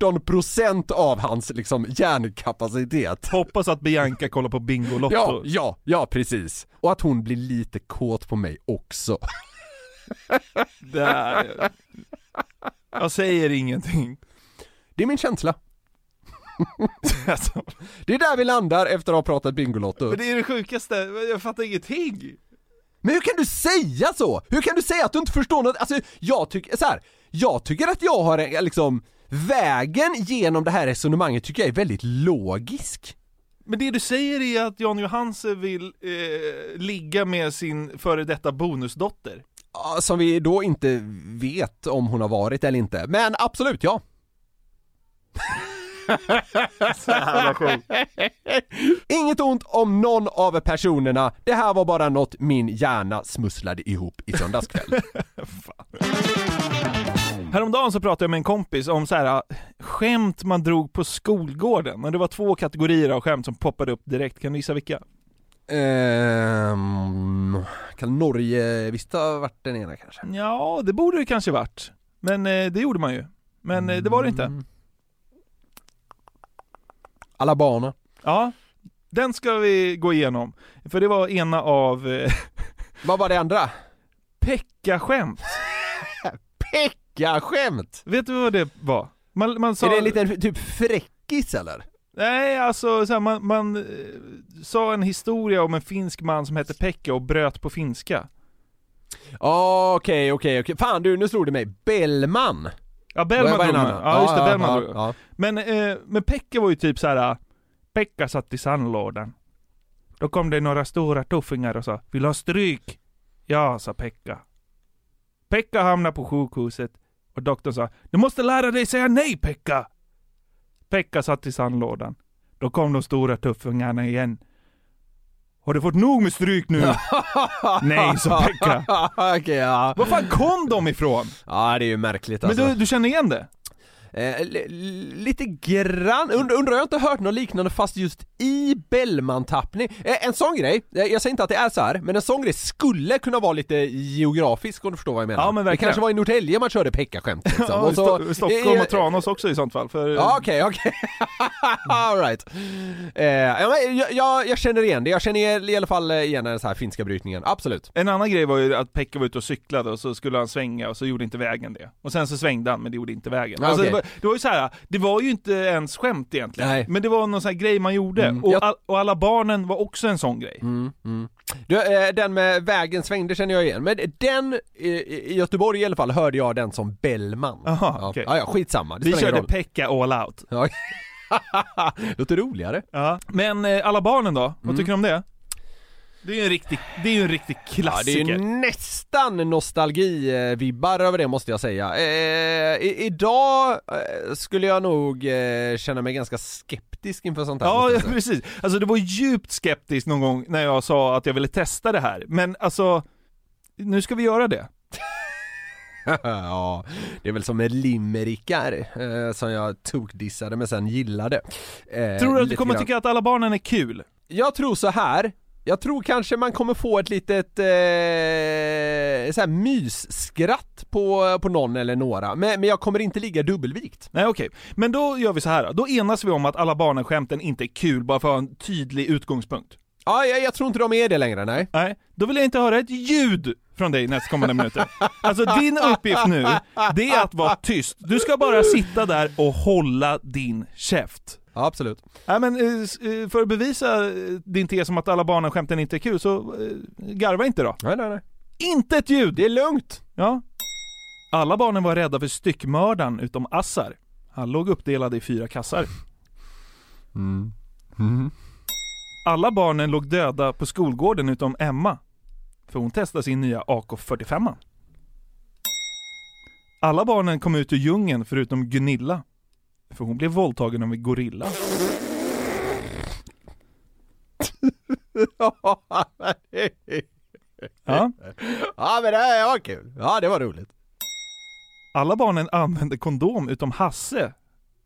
[SPEAKER 5] 14% av hans liksom hjärnkapacitet.
[SPEAKER 4] Hoppas att Bianca kollar på Bingolotto.
[SPEAKER 5] Ja, ja, ja precis. Och att hon blir lite kåt på mig också.
[SPEAKER 4] Där. Jag säger ingenting.
[SPEAKER 5] Det är min känsla. Det är där vi landar efter att ha pratat Bingolotto.
[SPEAKER 4] Alltså, Men det är det sjukaste, jag fattar ingenting.
[SPEAKER 5] Men hur kan du säga så? Hur kan du säga att du inte förstår något? Alltså, jag tycker, så här, jag tycker att jag har en, liksom, vägen genom det här resonemanget tycker jag är väldigt logisk.
[SPEAKER 4] Men det du säger är att Jan Johansen vill eh, ligga med sin före detta bonusdotter.
[SPEAKER 5] Ja, Som vi då inte vet om hon har varit eller inte, men absolut ja. Inget ont om någon av personerna, det här var bara något min hjärna smusslade ihop i söndags kväll.
[SPEAKER 4] Häromdagen så pratade jag med en kompis om så här äh, skämt man drog på skolgården. Men det var två kategorier av skämt som poppade upp direkt. Kan du gissa vilka?
[SPEAKER 5] Ehm, kan Norge, visst ha varit den ena kanske?
[SPEAKER 4] Ja, det borde det kanske varit. Men eh, det gjorde man ju. Men eh, det var det
[SPEAKER 5] Mm.
[SPEAKER 4] inte.
[SPEAKER 5] Alabama.
[SPEAKER 4] Ja, den ska vi gå igenom. För det var ena av... Eh,
[SPEAKER 5] Vad var det andra?
[SPEAKER 4] Pekka-skämt.
[SPEAKER 5] Pekka-skämt!
[SPEAKER 4] Vet du vad det var? Man, man sa...
[SPEAKER 5] Är det en liten typ fräckis eller?
[SPEAKER 4] Nej, alltså så här, man, man eh, sa en historia om en finsk man som hette Pekka och bröt på finska.
[SPEAKER 5] Ja, Okej, okej, okej. Fan du, nu slog det mig. Bellman!
[SPEAKER 4] Ja,
[SPEAKER 5] Vad
[SPEAKER 4] Bellman
[SPEAKER 5] var
[SPEAKER 4] drog
[SPEAKER 5] en
[SPEAKER 4] man.
[SPEAKER 5] annan?
[SPEAKER 4] Ja, just det,
[SPEAKER 5] Ja, ja,
[SPEAKER 4] Bellman
[SPEAKER 5] ja,
[SPEAKER 4] drog
[SPEAKER 5] ja.
[SPEAKER 4] Men, eh, men Pekka var ju typ så här. Pekka satt i sandlådan. Då kom det några stora tuffingar och sa Vill du ha stryk? Ja, sa Pekka. Pekka hamnade på sjukhuset och doktorn sa Du måste lära dig säga nej Pekka! Pekka satt i sandlådan. Då kom de stora tuffingarna igen. Har du fått nog med stryk nu? nej, sa Pekka.
[SPEAKER 5] okej, ja.
[SPEAKER 4] Var fan kom de ifrån?
[SPEAKER 5] Ja, det är ju märkligt
[SPEAKER 4] Men
[SPEAKER 5] alltså.
[SPEAKER 4] du, du känner igen det?
[SPEAKER 5] Eh, li- lite grann, und, undrar jag inte hört något liknande fast just i Bellman-tappning. Eh, en sån grej, eh, jag säger inte att det är så här, men en sån grej skulle kunna vara lite geografisk om du förstår vad jag menar.
[SPEAKER 4] Ja, men
[SPEAKER 5] det
[SPEAKER 4] verkligen.
[SPEAKER 5] kanske var i Norrtälje man körde Pekka-skämt liksom.
[SPEAKER 4] Ja, och Sto- Stockholm och
[SPEAKER 5] eh,
[SPEAKER 4] Tranås också i sånt fall. För,
[SPEAKER 5] Ja, okej, okej. Alright. Eh, ja, men jag, jag, jag känner igen det, jag känner i alla fall igen den så här finska brytningen, absolut.
[SPEAKER 4] En annan grej var ju att Pekka var ute och cyklade och så skulle han svänga och så gjorde inte vägen det. Och sen så svängde han men det gjorde inte vägen.
[SPEAKER 5] Ja,
[SPEAKER 4] alltså,
[SPEAKER 5] okej.
[SPEAKER 4] det, var, det var ju så här, det var ju inte ens skämt egentligen.
[SPEAKER 5] Nej.
[SPEAKER 4] Men det var någon sån här grej man gjorde.
[SPEAKER 5] Mm.
[SPEAKER 4] Och,
[SPEAKER 5] Jag- Mm,
[SPEAKER 4] all, och alla barnen var också en sån grej.
[SPEAKER 5] Du, eh, den med vägen svängde känner jag igen, men den eh, i Göteborg i alla fall hörde jag den som Bellman.
[SPEAKER 4] Aha,
[SPEAKER 5] ja.
[SPEAKER 4] okej.
[SPEAKER 5] ja, ja, skitsamma. Det
[SPEAKER 4] Vi
[SPEAKER 5] spelar ingen
[SPEAKER 4] körde
[SPEAKER 5] roll.
[SPEAKER 4] Pekka all out.
[SPEAKER 5] Ja. Låter roligare.
[SPEAKER 4] Ja. Men eh, alla barnen då? Vad
[SPEAKER 5] Mm.
[SPEAKER 4] tycker du om det? Det är ju en riktig, det är ju en riktig
[SPEAKER 5] Ja, det är
[SPEAKER 4] klassiker.
[SPEAKER 5] ju nästan nostalgi-vibbar över det måste jag säga. Eh, i, idag eh, skulle jag nog eh, känna mig ganska skeptisk inför sånt här.
[SPEAKER 4] Ja,
[SPEAKER 5] måste
[SPEAKER 4] ja
[SPEAKER 5] jag säga.
[SPEAKER 4] precis. Alltså det var djupt skeptiskt någon gång när jag sa att jag ville testa det här. Men alltså, nu ska vi göra det.
[SPEAKER 5] Eh, ja, det är väl som med limerickar eh, som jag tokdissade men sen gillade. Eh,
[SPEAKER 4] Tror du att du
[SPEAKER 5] lite
[SPEAKER 4] kommer
[SPEAKER 5] grann.
[SPEAKER 4] tycka att alla barnen är kul?
[SPEAKER 5] Jag tror så här. Jag tror kanske man kommer få ett litet eh, så här mysskratt på, på någon eller några, men, men jag kommer inte ligga dubbelvikt.
[SPEAKER 4] Nej okej, men då gör vi så här då. Då enas vi om att alla barnen-skämten inte är kul bara för att ha en tydlig utgångspunkt.
[SPEAKER 5] Ja, jag, jag tror inte de är det längre, nej.
[SPEAKER 4] Nej, då vill jag inte höra ett ljud från dig nästkommande minuter. Alltså din uppgift nu, det är att vara tyst. Du ska bara sitta där och hålla din käft.
[SPEAKER 5] Ja, absolut.
[SPEAKER 4] Nej men eh, s- eh, för att bevisa eh, din tes om att alla barnen-skämten inte är kul så eh, garva inte då.
[SPEAKER 5] Nej, nej, nej.
[SPEAKER 4] Inte ett ljud!
[SPEAKER 5] Det är lugnt.
[SPEAKER 4] Ja. Alla barnen var rädda för styckmördaren utom Assar. Han låg uppdelad i fyra kassar.
[SPEAKER 5] Mm.
[SPEAKER 4] Alla barnen låg döda på skolgården utom Emma. För hon testade sin nya AK45. Alla barnen kom ut ur djungeln förutom Gunilla. För hon blev våldtagen av en gorilla. Ja.
[SPEAKER 5] ja, men det här var kul. Ja, det var roligt.
[SPEAKER 4] Alla barnen använde kondom utom Hasse.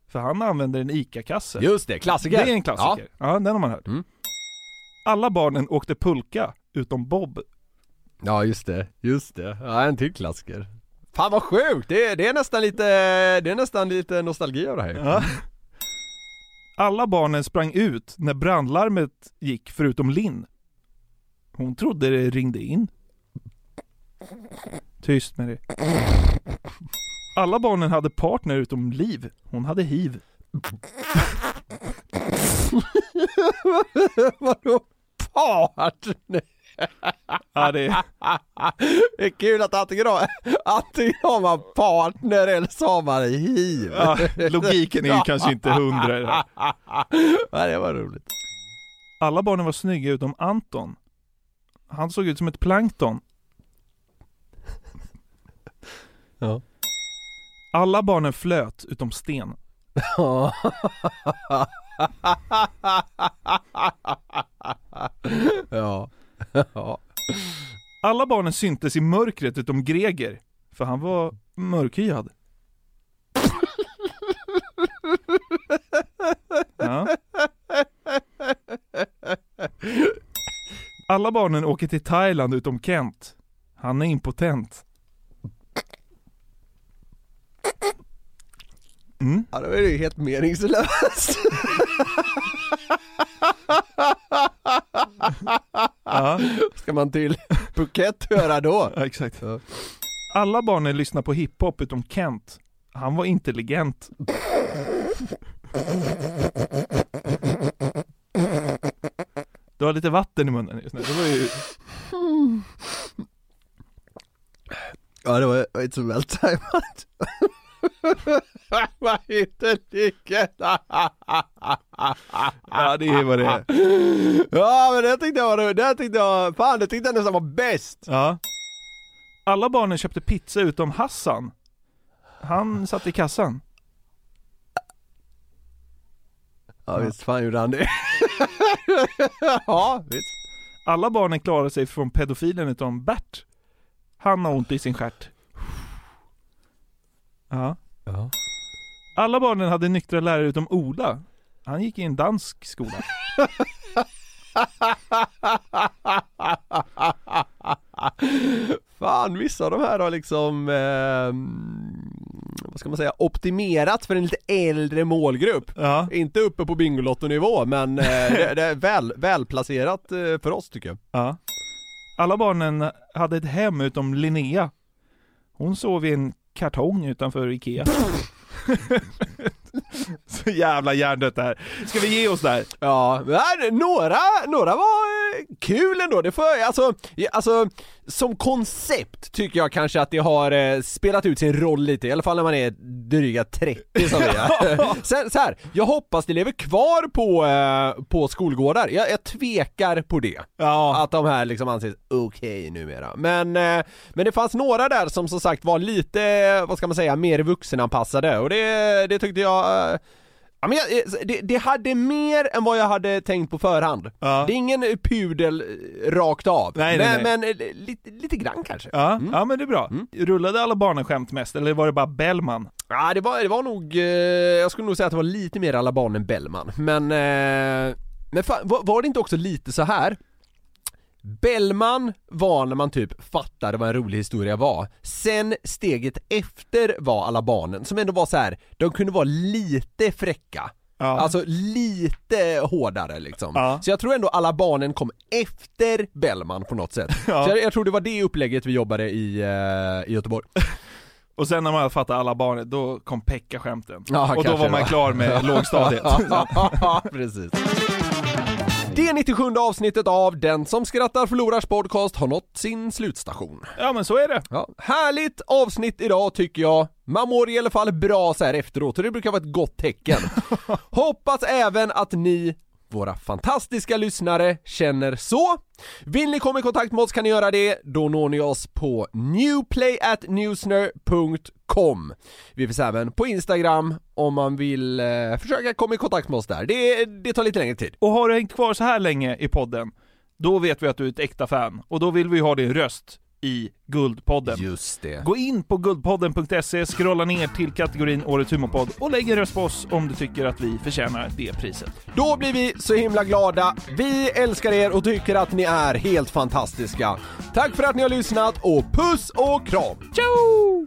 [SPEAKER 4] För han använder en ICA-kasse.
[SPEAKER 5] Just det, klassiker.
[SPEAKER 4] Det är en klassiker. Ja, den har man hört. Alla barnen åkte pulka utom Bob.
[SPEAKER 5] Ja, just det. Just det. Ja, en till klassiker. Fan vad sjukt! Det, är- det är nästan lite, det är nästan lite nostalgi av det här.
[SPEAKER 4] Ja. Alla barnen sprang ut när brandlarmet gick förutom Linn. Hon trodde det ringde in. Tyst med det. Alla barnen hade partner utom Liv. Hon hade hiv.
[SPEAKER 5] Vadå partner?
[SPEAKER 4] Ja, det, är...
[SPEAKER 5] det är kul att antingen har, antingen har man partner eller så har man hiv.
[SPEAKER 4] ja, logiken är ju kanske inte hundra i det här.
[SPEAKER 5] Ja, det var roligt.
[SPEAKER 4] Alla barnen var snygga utom Anton. Han såg ut som ett plankton.
[SPEAKER 5] Ja.
[SPEAKER 4] Alla barnen flöt utom Sten.
[SPEAKER 5] ja. ja.
[SPEAKER 4] Alla barnen syntes i mörkret utom Greger, för han var mörkhyad. Ja. Alla barnen åker till Thailand utom Kent. Han är impotent. Mm.
[SPEAKER 5] Ja, det var ju helt meningslöst.
[SPEAKER 4] Ja.
[SPEAKER 5] Ska man till Phuket höra då?
[SPEAKER 4] Ja, exakt. Alla barnen lyssnar på hiphop utom Kent. Han var intelligent. Du har lite vatten i munnen just nu. Det var ju...
[SPEAKER 5] Ja, det var inte så väl tajmat. Vad heter Nicke?
[SPEAKER 4] Ja, det är vad det är.
[SPEAKER 5] Ja, men det tyckte jag var det tyckte jag, fan det tyckte jag nästan var bäst.
[SPEAKER 4] Ja. Alla barnen köpte pizza utom Hassan. Han satt i kassan.
[SPEAKER 5] Ja, visst fan gjorde han det. ja, visst.
[SPEAKER 4] Alla barnen klarade sig från pedofilen utom Bert. Han har ont i sin stjärt. Ja.
[SPEAKER 5] Ja.
[SPEAKER 4] Alla barnen hade nyktra lärare utom Ola. Han gick i en dansk skola.
[SPEAKER 5] Fan, vissa av de här har liksom, eh, vad ska man säga, optimerat för en lite äldre målgrupp. Inte uppe på Bingolotto-nivå, men eh, det, det är väl, välplacerat eh, för oss tycker jag.
[SPEAKER 4] Ja. Alla barnen hade ett hem utom Linnea. Hon sov i en kartong utanför Ikea. Så jävla hjärndött det här. Ska vi ge oss där?
[SPEAKER 5] Ja, men några, några var eh, kul ändå. Det får, alltså, ja, alltså, som koncept tycker jag kanske att det har eh, spelat ut sin roll lite, i alla fall när man är dryga 30 som vi är. Sen, så här, jag hoppas det lever kvar på, eh, på skolgårdar. Jag, jag tvekar på det. Att de här liksom anses okej numera. Men, eh, men det fanns några där som som sagt var lite, vad ska man säga, mer vuxenanpassade och det, det tyckte jag eh, Ja, men jag, eh, det, det hade mer än vad jag hade tänkt på förhand. Det är ingen pudel eh, rakt av,
[SPEAKER 4] Nej, nej,
[SPEAKER 5] men, men eh, lite, lite grann kanske.
[SPEAKER 4] Ja, ja men det är bra. Rullade alla barnen skämt mest, eller var det bara Bellman?
[SPEAKER 5] Ja, det var, det var nog, eh, jag skulle nog säga att det var lite mer alla barn än Bellman, men, eh, men fan, var, var det inte också lite så här? Bellman var när man typ fattade vad en rolig historia var, sen steget efter var alla barnen, som ändå var så här. de kunde vara lite fräcka Alltså lite hårdare liksom. Så jag tror ändå alla barnen kom efter Bellman på något sätt. Så jag, jag tror det var det upplägget vi jobbade i, eh, i Göteborg.
[SPEAKER 4] Och sen när man hade fattat alla barnen, då kom Pekka-skämten.
[SPEAKER 5] Ja,
[SPEAKER 4] och då
[SPEAKER 5] kanske
[SPEAKER 4] var
[SPEAKER 5] det
[SPEAKER 4] man
[SPEAKER 5] var.
[SPEAKER 4] klar med lågstadiet.
[SPEAKER 5] Ja, precis. Det 97 avsnittet av Den som skrattar förlorars podcast har nått sin slutstation.
[SPEAKER 4] Ja men så är det.
[SPEAKER 5] Ja, härligt avsnitt idag tycker jag. Man mår i alla fall bra så här efteråt och det brukar vara ett gott tecken. Hoppas även att ni våra fantastiska lyssnare känner så. Vill ni komma i kontakt med oss kan ni göra det, då når ni oss på newplayatnewsner.com. Vi finns även på Instagram om man vill eh, försöka komma i kontakt med oss där. Det, det tar lite längre tid.
[SPEAKER 4] Och har du hängt kvar så här länge i podden, då vet vi att du är ett äkta fan. Och då vill vi ju ha din röst i Guldpodden.
[SPEAKER 5] Just det.
[SPEAKER 4] Gå in på guldpodden.se, scrolla ner till kategorin Årets humorpodd och lägg en röst på oss om du tycker att vi förtjänar det priset.
[SPEAKER 5] Då blir vi så himla glada. Vi älskar er och tycker att ni är helt fantastiska. Tack för att ni har lyssnat och puss och kram! Tjo!